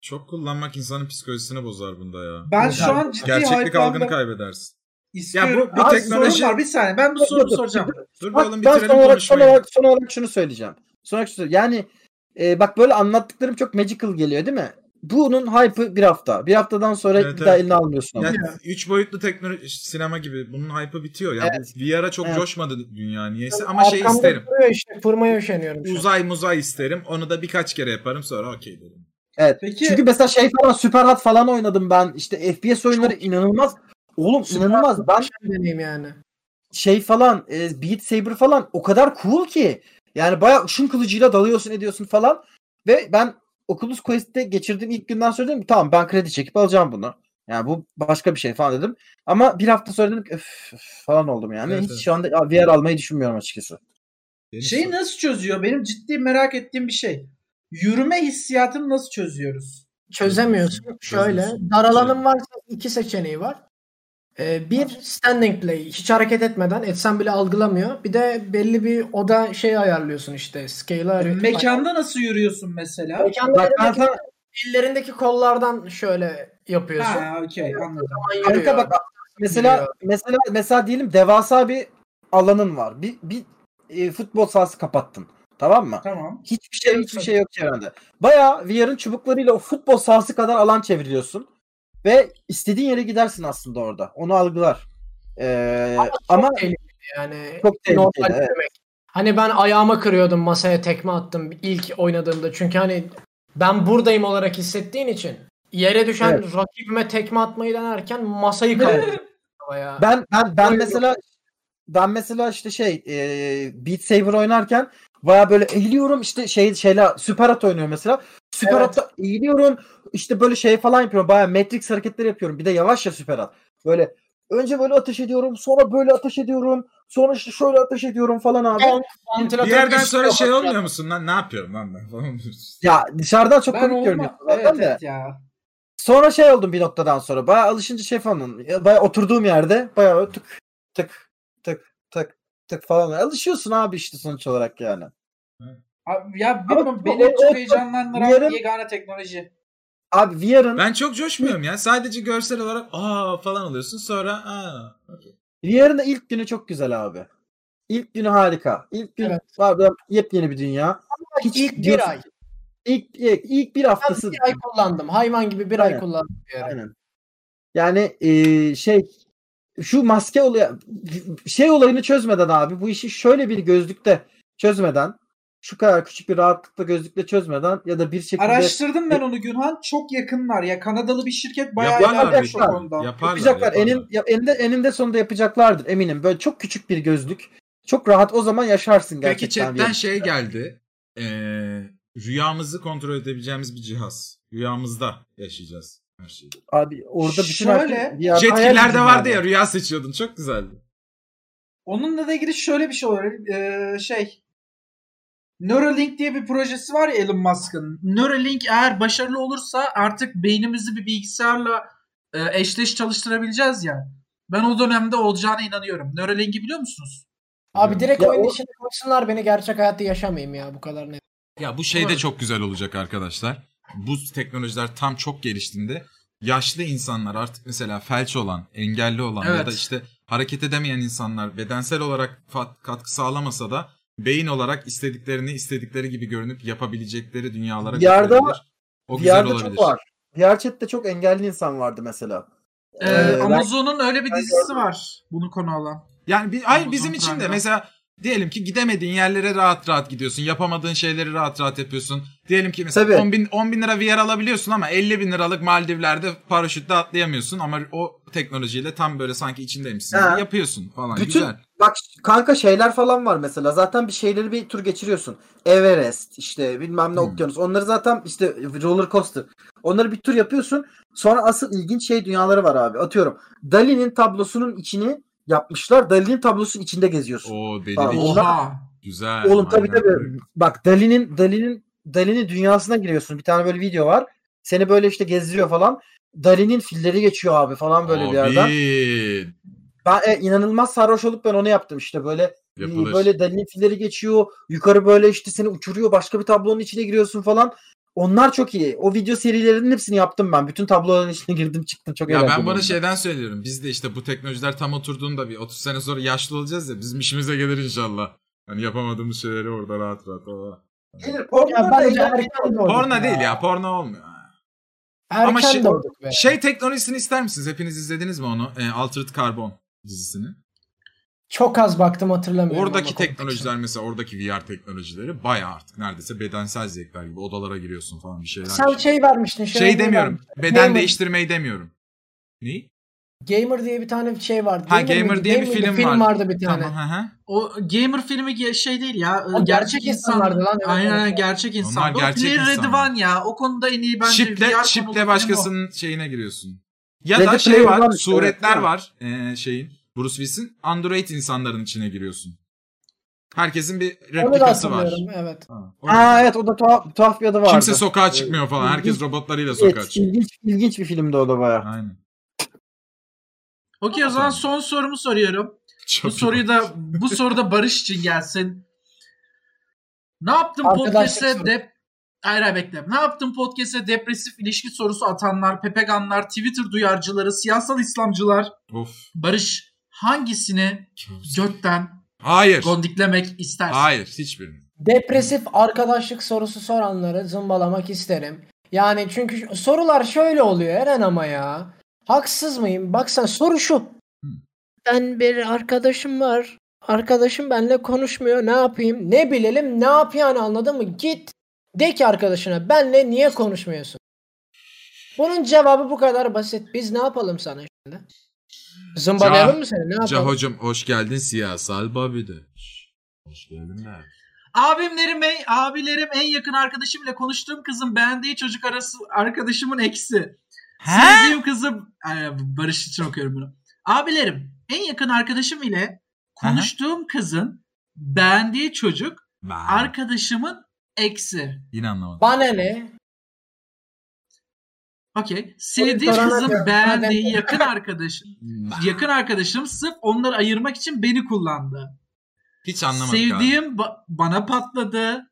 Speaker 4: Çok kullanmak insanın psikolojisini bozar bunda ya.
Speaker 2: Ben şu an ciddi
Speaker 4: Gerçeklik algını
Speaker 2: hype'landım.
Speaker 4: kaybedersin.
Speaker 2: İstiyorum.
Speaker 4: Ya bu- bu
Speaker 2: Abi
Speaker 4: teknoloji-
Speaker 2: sorun var bir saniye. Ben bu
Speaker 5: Yok,
Speaker 2: soruyu
Speaker 5: yok, yok.
Speaker 2: soracağım.
Speaker 4: Dur bir
Speaker 5: Bak,
Speaker 4: oğlum
Speaker 5: ben son
Speaker 4: bitirelim
Speaker 5: olarak, son,
Speaker 4: konuşmayı.
Speaker 5: olarak, son olarak şunu söyleyeceğim. Son olarak şunu söyleyeceğim. Yani e, bak böyle anlattıklarım çok magical geliyor değil mi? Bunun hype'ı bir hafta. Bir haftadan sonra
Speaker 4: Evet,
Speaker 5: bir daha
Speaker 4: evet.
Speaker 5: eline almıyorsun. ama.
Speaker 4: Yani üç boyutlu teknoloji sinema gibi bunun hype'ı bitiyor. Yani VR'a çok
Speaker 5: Evet.
Speaker 4: coşmadı dünya niyeyse ama
Speaker 3: Arkamda
Speaker 4: şey isterim.
Speaker 3: duruyor işte fırmaya üşeniyorum. şu an.
Speaker 4: Uzay muzay isterim. Onu da birkaç kere yaparım sonra okey derim.
Speaker 2: Peki
Speaker 5: Çünkü mesela şey falan Super Hot falan oynadım ben. İşte FPS oyunları inanılmaz. Oğlum inanılmaz. Ben
Speaker 3: Muhteşem deneyim yani.
Speaker 5: şey falan e, Beat Saber falan o kadar cool ki. Yani bayağı ışın kılıcıyla dalıyorsun ediyorsun falan. Ve ben Oculus Quest'te geçirdiğim ilk günden sonra dedim ki, tamam ben kredi çekip alacağım bunu. Yani bu başka bir şey falan dedim. Ama bir hafta sonra dedim ki, öf, öf falan oldum yani.
Speaker 4: Evet,
Speaker 5: Hiç
Speaker 4: evet.
Speaker 5: şu anda VR almayı düşünmüyorum açıkçası.
Speaker 4: Deniz
Speaker 5: Şey
Speaker 2: şeyi nasıl çözüyor? Benim ciddi merak ettiğim bir şey. Yürüme hissiyatını nasıl çözüyoruz?
Speaker 3: Çözemiyorsun. Şöyle
Speaker 4: Çözemiyorsun.
Speaker 3: dar alanın varsa iki seçeneği var. Ee, bir standing play. Hiç hareket etmeden etsen bile algılamıyor. Bir de belli bir oda şey ayarlıyorsun işte. Scale'ı ayar-
Speaker 2: Mekanda nasıl yürüyorsun mesela?
Speaker 3: Mekanda
Speaker 5: Bak ben
Speaker 3: elindeki-
Speaker 5: sana
Speaker 3: ellerindeki kollardan şöyle yapıyorsun.
Speaker 2: Ha, okey anladım.
Speaker 3: Zaman yürüyor.
Speaker 5: harita bak mesela
Speaker 3: Yürüyor.
Speaker 5: mesela mesela diyelim devasa bir alanın var. Bir bir e, futbol sahası kapattın. Tamam mı?
Speaker 2: Tamam.
Speaker 5: Hiçbir şey hiçbir şey yok çevrende. Bayağı VR'ın çubuklarıyla o futbol sahası kadar alan çeviriyorsun. Ve istediğin yere gidersin aslında orada. Onu algılar. Ee, ama
Speaker 3: tehlikeli. yani
Speaker 5: çok
Speaker 3: normal
Speaker 5: tehlikeli. evet.
Speaker 3: demek. Hani ben ayağıma kırıyordum masaya tekme attım ilk oynadığımda. Çünkü hani ben buradayım olarak hissettiğin için yere düşen
Speaker 5: Evet.
Speaker 3: rakibime tekme atmayı denerken masayı
Speaker 5: (laughs)
Speaker 3: kaldırdım. havaya.
Speaker 5: Ben ben ben
Speaker 3: Öyle
Speaker 5: mesela ben mesela işte şey e, Beat Saber oynarken baya böyle eğiliyorum işte şey şeyler Süper Hat oynuyor mesela. Süper
Speaker 3: Evet.
Speaker 5: Hat'ta eğiliyorum işte böyle şey falan yapıyorum baya Matrix hareketleri yapıyorum bir de yavaş ya Süper Hat. Böyle önce böyle ateş ediyorum sonra böyle ateş ediyorum sonra işte şöyle ateş ediyorum falan abi.
Speaker 3: Evet. Ventilatör
Speaker 4: Bir yerden
Speaker 3: düşüyor.
Speaker 4: sonra şey olmuyor musun lan ne yapıyorum lan ben falan (laughs) diyorsun.
Speaker 5: Ya dışarıdan çok
Speaker 2: ben
Speaker 5: komik görünüyor
Speaker 2: olmam.
Speaker 5: zaten
Speaker 2: Evet,
Speaker 5: de.
Speaker 2: evet ya.
Speaker 5: Sonra şey oldum bir noktadan sonra. Baya alışınca şey falan. Baya oturduğum yerde baya böyle tık tık tık tık tık falan. Alışıyorsun abi işte sonuç olarak yani.
Speaker 2: Abi, ya
Speaker 5: Ama
Speaker 2: bilmiyorum,
Speaker 5: bu-
Speaker 2: beni
Speaker 5: o-
Speaker 2: çok
Speaker 5: o-
Speaker 2: heyecanlandıran
Speaker 5: yarın-
Speaker 2: yegane teknoloji.
Speaker 5: Abi VR'ın
Speaker 4: Ben çok coşmuyorum ya. Sadece görsel olarak aa falan oluyorsun sonra aa.
Speaker 5: VR'ın da ilk günü çok güzel abi. İlk günü harika. İlk gün
Speaker 3: Evet.
Speaker 5: abi yepyeni bir dünya. Hiç
Speaker 3: İlk bir
Speaker 5: diyorsun-
Speaker 3: ay.
Speaker 5: İlk, ilk, ilk bir
Speaker 3: Ben
Speaker 5: haftası.
Speaker 3: bir ay kullandım. Hayvan gibi bir ay
Speaker 5: Aynen.
Speaker 3: kullandım. bir ara.
Speaker 5: Aynen. Yani eee, şey şu maske olayı şey olayını çözmeden abi bu işi şöyle bir gözlükte çözmeden şu kadar küçük bir rahatlıkla gözlükle çözmeden ya da bir şekilde
Speaker 2: Araştırdım ben onu Günhan. Çok yakınlar. Ya Kanadalı bir şirket bayağı
Speaker 4: Yaparlar
Speaker 2: ilerlemiş
Speaker 5: bir şey.
Speaker 2: o konuda.
Speaker 4: Yaparlar.
Speaker 5: yapacaklar.
Speaker 4: yaparlar.
Speaker 5: Enin, ya- eninde, eninde sonunda yapacaklardır eminim. Böyle çok küçük bir gözlük. Çok rahat o zaman yaşarsın
Speaker 4: Peki
Speaker 5: gerçekten.
Speaker 4: chatten şey geldi. Ee, rüyamızı kontrol edebileceğimiz bir cihaz. Rüyamızda yaşayacağız her şeyi.
Speaker 5: Abi orada bütün
Speaker 2: Şöyle,
Speaker 5: herkes- ya, hayal
Speaker 4: Jetkilerde
Speaker 5: gücü
Speaker 4: vardı
Speaker 5: yani.
Speaker 4: ya rüya seçiyordun. Çok güzeldi.
Speaker 2: Onunla da ilgili şöyle bir şey olabilir. Ee, şey Neuralink diye bir projesi var ya Elon Musk'ın. Neuralink eğer başarılı olursa artık beynimizi bir bilgisayarla e, eşleş çalıştırabileceğiz ya. Ben o dönemde olacağına inanıyorum. Neuralink'i biliyor musunuz?
Speaker 3: Abi direkt
Speaker 5: Ya
Speaker 3: oyun
Speaker 5: o-
Speaker 3: içine koysunlar beni gerçek hayatta yaşamayayım ya bu kadar net.
Speaker 4: Ya bu şey de çok güzel olacak arkadaşlar. Bu teknolojiler tam çok geliştiğinde yaşlı insanlar artık mesela felç olan, engelli olan ya
Speaker 2: Evet.
Speaker 4: da işte hareket edemeyen insanlar bedensel olarak fa- katkı sağlamasa da beyin olarak istediklerini istedikleri gibi görünüp yapabilecekleri dünyalara
Speaker 5: Yarda-
Speaker 4: götürebilir. O güzel
Speaker 5: VR'da
Speaker 4: olabilir.
Speaker 5: çok var. VR chat'te çok engelli insan vardı mesela.
Speaker 2: Ee,
Speaker 5: Ee, ben-
Speaker 2: Amazon'un öyle bir
Speaker 5: ben
Speaker 2: dizisi var bunu konu alan.
Speaker 4: Yani bir, hayır
Speaker 2: Amazon
Speaker 4: bizim için de
Speaker 2: Prime'da.
Speaker 4: mesela diyelim ki gidemediğin yerlere rahat rahat gidiyorsun. Yapamadığın şeyleri rahat rahat yapıyorsun. Diyelim ki mesela
Speaker 5: Tabii.
Speaker 4: 10 bin, 10 bin lira VR alabiliyorsun ama 50 bin liralık Maldivler'de paraşütle atlayamıyorsun. Ama o teknolojiyle tam böyle sanki içindeymişsin
Speaker 5: Ha.
Speaker 4: gibi yapıyorsun falan.
Speaker 5: Bütün-
Speaker 4: Güzel.
Speaker 5: Bak kanka şeyler falan var mesela. Zaten bir şeyleri bir tur geçiriyorsun. Everest işte bilmem ne
Speaker 4: Hmm.
Speaker 5: okyanus. Onları zaten işte roller coaster. Onları bir tur yapıyorsun. Sonra asıl ilginç şey dünyaları var abi. Atıyorum. Dali'nin tablosunun içini yapmışlar. Dali'nin tablosunun içinde geziyorsun.
Speaker 4: O
Speaker 5: Tamam.
Speaker 4: delilik.
Speaker 2: Oha.
Speaker 4: Güzel.
Speaker 5: Oğlum tabii
Speaker 4: manyak.
Speaker 5: tabii. Bak Dali'nin Dali'nin Dali'nin dünyasına giriyorsun. Bir tane böyle video var. Seni böyle işte gezdiriyor falan. Dali'nin filleri geçiyor abi falan böyle bir yerden.
Speaker 4: Abi,
Speaker 5: Ben e, inanılmaz sarhoş olup ben onu yaptım işte böyle
Speaker 4: Yapılır.
Speaker 5: Böyle delinin filleri geçiyor. Yukarı böyle işte seni uçuruyor. Başka bir tablonun içine giriyorsun falan. Onlar çok iyi. O video serilerinin hepsini yaptım ben. Bütün tabloların içine girdim çıktım. Çok
Speaker 4: Ya
Speaker 5: eğlenceli.
Speaker 4: ben bana şey-
Speaker 5: oldu.
Speaker 4: şeyden söylüyorum. Biz de işte bu teknolojiler tam oturduğunda bir 30 sene sonra yaşlı olacağız ya. Bizim işimize gelir inşallah. Hani yapamadığımız şeyleri orada rahat rahat. Aa.
Speaker 5: Gelir, porno
Speaker 3: Ya
Speaker 5: Ee, da
Speaker 3: bence
Speaker 5: eğlenceli
Speaker 3: erken
Speaker 5: olur.
Speaker 3: doğduk
Speaker 4: Porno
Speaker 3: ya.
Speaker 4: değil ya. Porno olmuyor.
Speaker 3: Erken
Speaker 4: Ama şey-
Speaker 3: doğduk be.
Speaker 4: Şey teknolojisini ister misiniz? Hepiniz izlediniz mi onu? E, Altered Carbon dizisini.
Speaker 3: Çok az baktım hatırlamıyorum.
Speaker 4: Oradaki
Speaker 3: ama korkunç.
Speaker 4: teknolojiler mesela oradaki VR teknolojileri baya artık neredeyse bedensel zevkler gibi odalara giriyorsun falan bir şeyler.
Speaker 3: Sen şey vermiştin.
Speaker 4: şey,
Speaker 3: şöyle bir
Speaker 4: demiyorum. Beden
Speaker 3: Gamer.
Speaker 4: değiştirmeyi demiyorum. Neyi?
Speaker 3: Gamer diye bir tane şey vardı.
Speaker 4: Ha,
Speaker 3: miydi?
Speaker 4: Gamer diye bir
Speaker 3: miydi?
Speaker 4: film var.
Speaker 3: vardı bir tane.
Speaker 4: Tamam. Hı hı.
Speaker 2: O gamer filmi ge- şey değil ya.
Speaker 3: O
Speaker 2: gerçek,
Speaker 3: gerçek
Speaker 2: insan.
Speaker 3: insanlardı lan, evet,
Speaker 2: Aynen
Speaker 3: evet.
Speaker 2: aynen, gerçek insan.
Speaker 4: Onlar
Speaker 2: O
Speaker 4: gerçek
Speaker 2: Player
Speaker 4: insan.
Speaker 2: Ready One ya. O konuda en iyi bence.
Speaker 4: Şiple,
Speaker 2: VR konulu film
Speaker 4: şiple
Speaker 2: o.
Speaker 4: başkasının şeyine giriyorsun. Ya
Speaker 5: Ready
Speaker 4: da şey
Speaker 5: Player
Speaker 4: var,
Speaker 5: One-
Speaker 4: suretler
Speaker 5: Evet.
Speaker 4: var ee, şeyin. Bruce Willis'in Android insanların içine giriyorsun. Herkesin bir
Speaker 3: Onu da
Speaker 4: replikası var.
Speaker 3: hatırlıyorum. Evet.
Speaker 4: Ha, o
Speaker 5: Aa evet o da tuhaf, tuhaf bir adı vardı.
Speaker 4: Kimse sokağa çıkmıyor falan. Herkes robotlarıyla sokağa
Speaker 5: evet,
Speaker 4: çıkıyor.
Speaker 5: ilginç, ilginç bir filmdi o da bayağı.
Speaker 4: Aynen.
Speaker 2: Okey o zaman son sorumu soruyorum. Bu
Speaker 4: Çok iyi.
Speaker 2: soruyu da bu soruda Barış için gelsin. Ne yaptın
Speaker 3: Arkadaşlık
Speaker 2: podcast'e
Speaker 3: soru.
Speaker 2: dep Hayır hayır, bekle. Ne yaptın podcast'e depresif ilişki sorusu atanlar, pepeganlar, Twitter duyarcıları, siyasal İslamcılar.
Speaker 4: Of.
Speaker 2: Barış hangisini götten
Speaker 4: Hayır.
Speaker 2: gondiklemek istersin?
Speaker 4: Hayır. Hiçbirini.
Speaker 3: Depresif arkadaşlık sorusu soranları zımbalamak isterim. Yani çünkü ş- sorular şöyle oluyor Eren ama ya. Haksız mıyım? Baksana soru şu. Ben bir arkadaşım var. Arkadaşım benimle konuşmuyor. Ne yapayım? Ne bilelim? Ne yap yani anladın mı? Git de ki arkadaşına benle niye konuşmuyorsun? Bunun cevabı bu kadar basit. Biz ne yapalım sana şimdi? Zımbalayalım
Speaker 4: Ca-
Speaker 3: mı seni? Ne yapalım?
Speaker 4: Ca hocam hoş geldin siyasal babi de. Hoş geldin de.
Speaker 2: Abimlerim, en, abilerim en yakın arkadaşım ile konuştuğum kızın beğendiği çocuk arası arkadaşımın eksi. Sevdiğim kızım Ay, Barış için okuyorum bunu. Abilerim en yakın arkadaşım ile konuştuğum kızın beğendiği çocuk
Speaker 4: Ben
Speaker 2: arkadaşımın eksi.
Speaker 4: yine anlamadım.
Speaker 3: Bana ne?
Speaker 2: Okey. Sevdiğim
Speaker 3: sorana
Speaker 2: kızın
Speaker 3: diyorum,
Speaker 2: beğendiği
Speaker 3: madem-
Speaker 2: yakın arkadaşım. Yakın arkadaşım sırf onları ayırmak için beni kullandı.
Speaker 4: Hiç anlamadım. abi.
Speaker 2: Sevdiğim ba- bana patladı.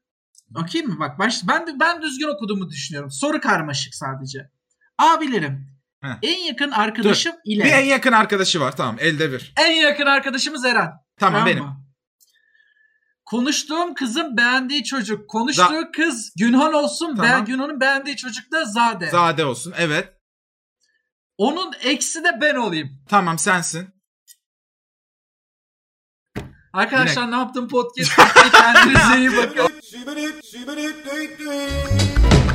Speaker 2: Okey mi? Bak baş, ben ben düzgün okuduğumu düşünüyorum. Soru karmaşık sadece. Abilerim.
Speaker 4: Heh.
Speaker 2: En yakın arkadaşım ile.
Speaker 4: Bir en yakın arkadaşı var tamam elde bir.
Speaker 2: En yakın arkadaşımız Eren.
Speaker 4: Tamam,
Speaker 2: mı?
Speaker 4: benim.
Speaker 2: Konuştuğum kızın beğendiği çocuk. Konuştuğu kız Günhan olsun.
Speaker 4: Tamam.
Speaker 2: Ben Günhan'ın beğendiği çocuk da Zade.
Speaker 4: Zade olsun evet.
Speaker 2: Onun eksi de ben olayım.
Speaker 4: Tamam sensin.
Speaker 2: Arkadaşlar ne yaptım podcast? Kendinize iyi bakın.
Speaker 1: Shibbity, shibbity, dee dee.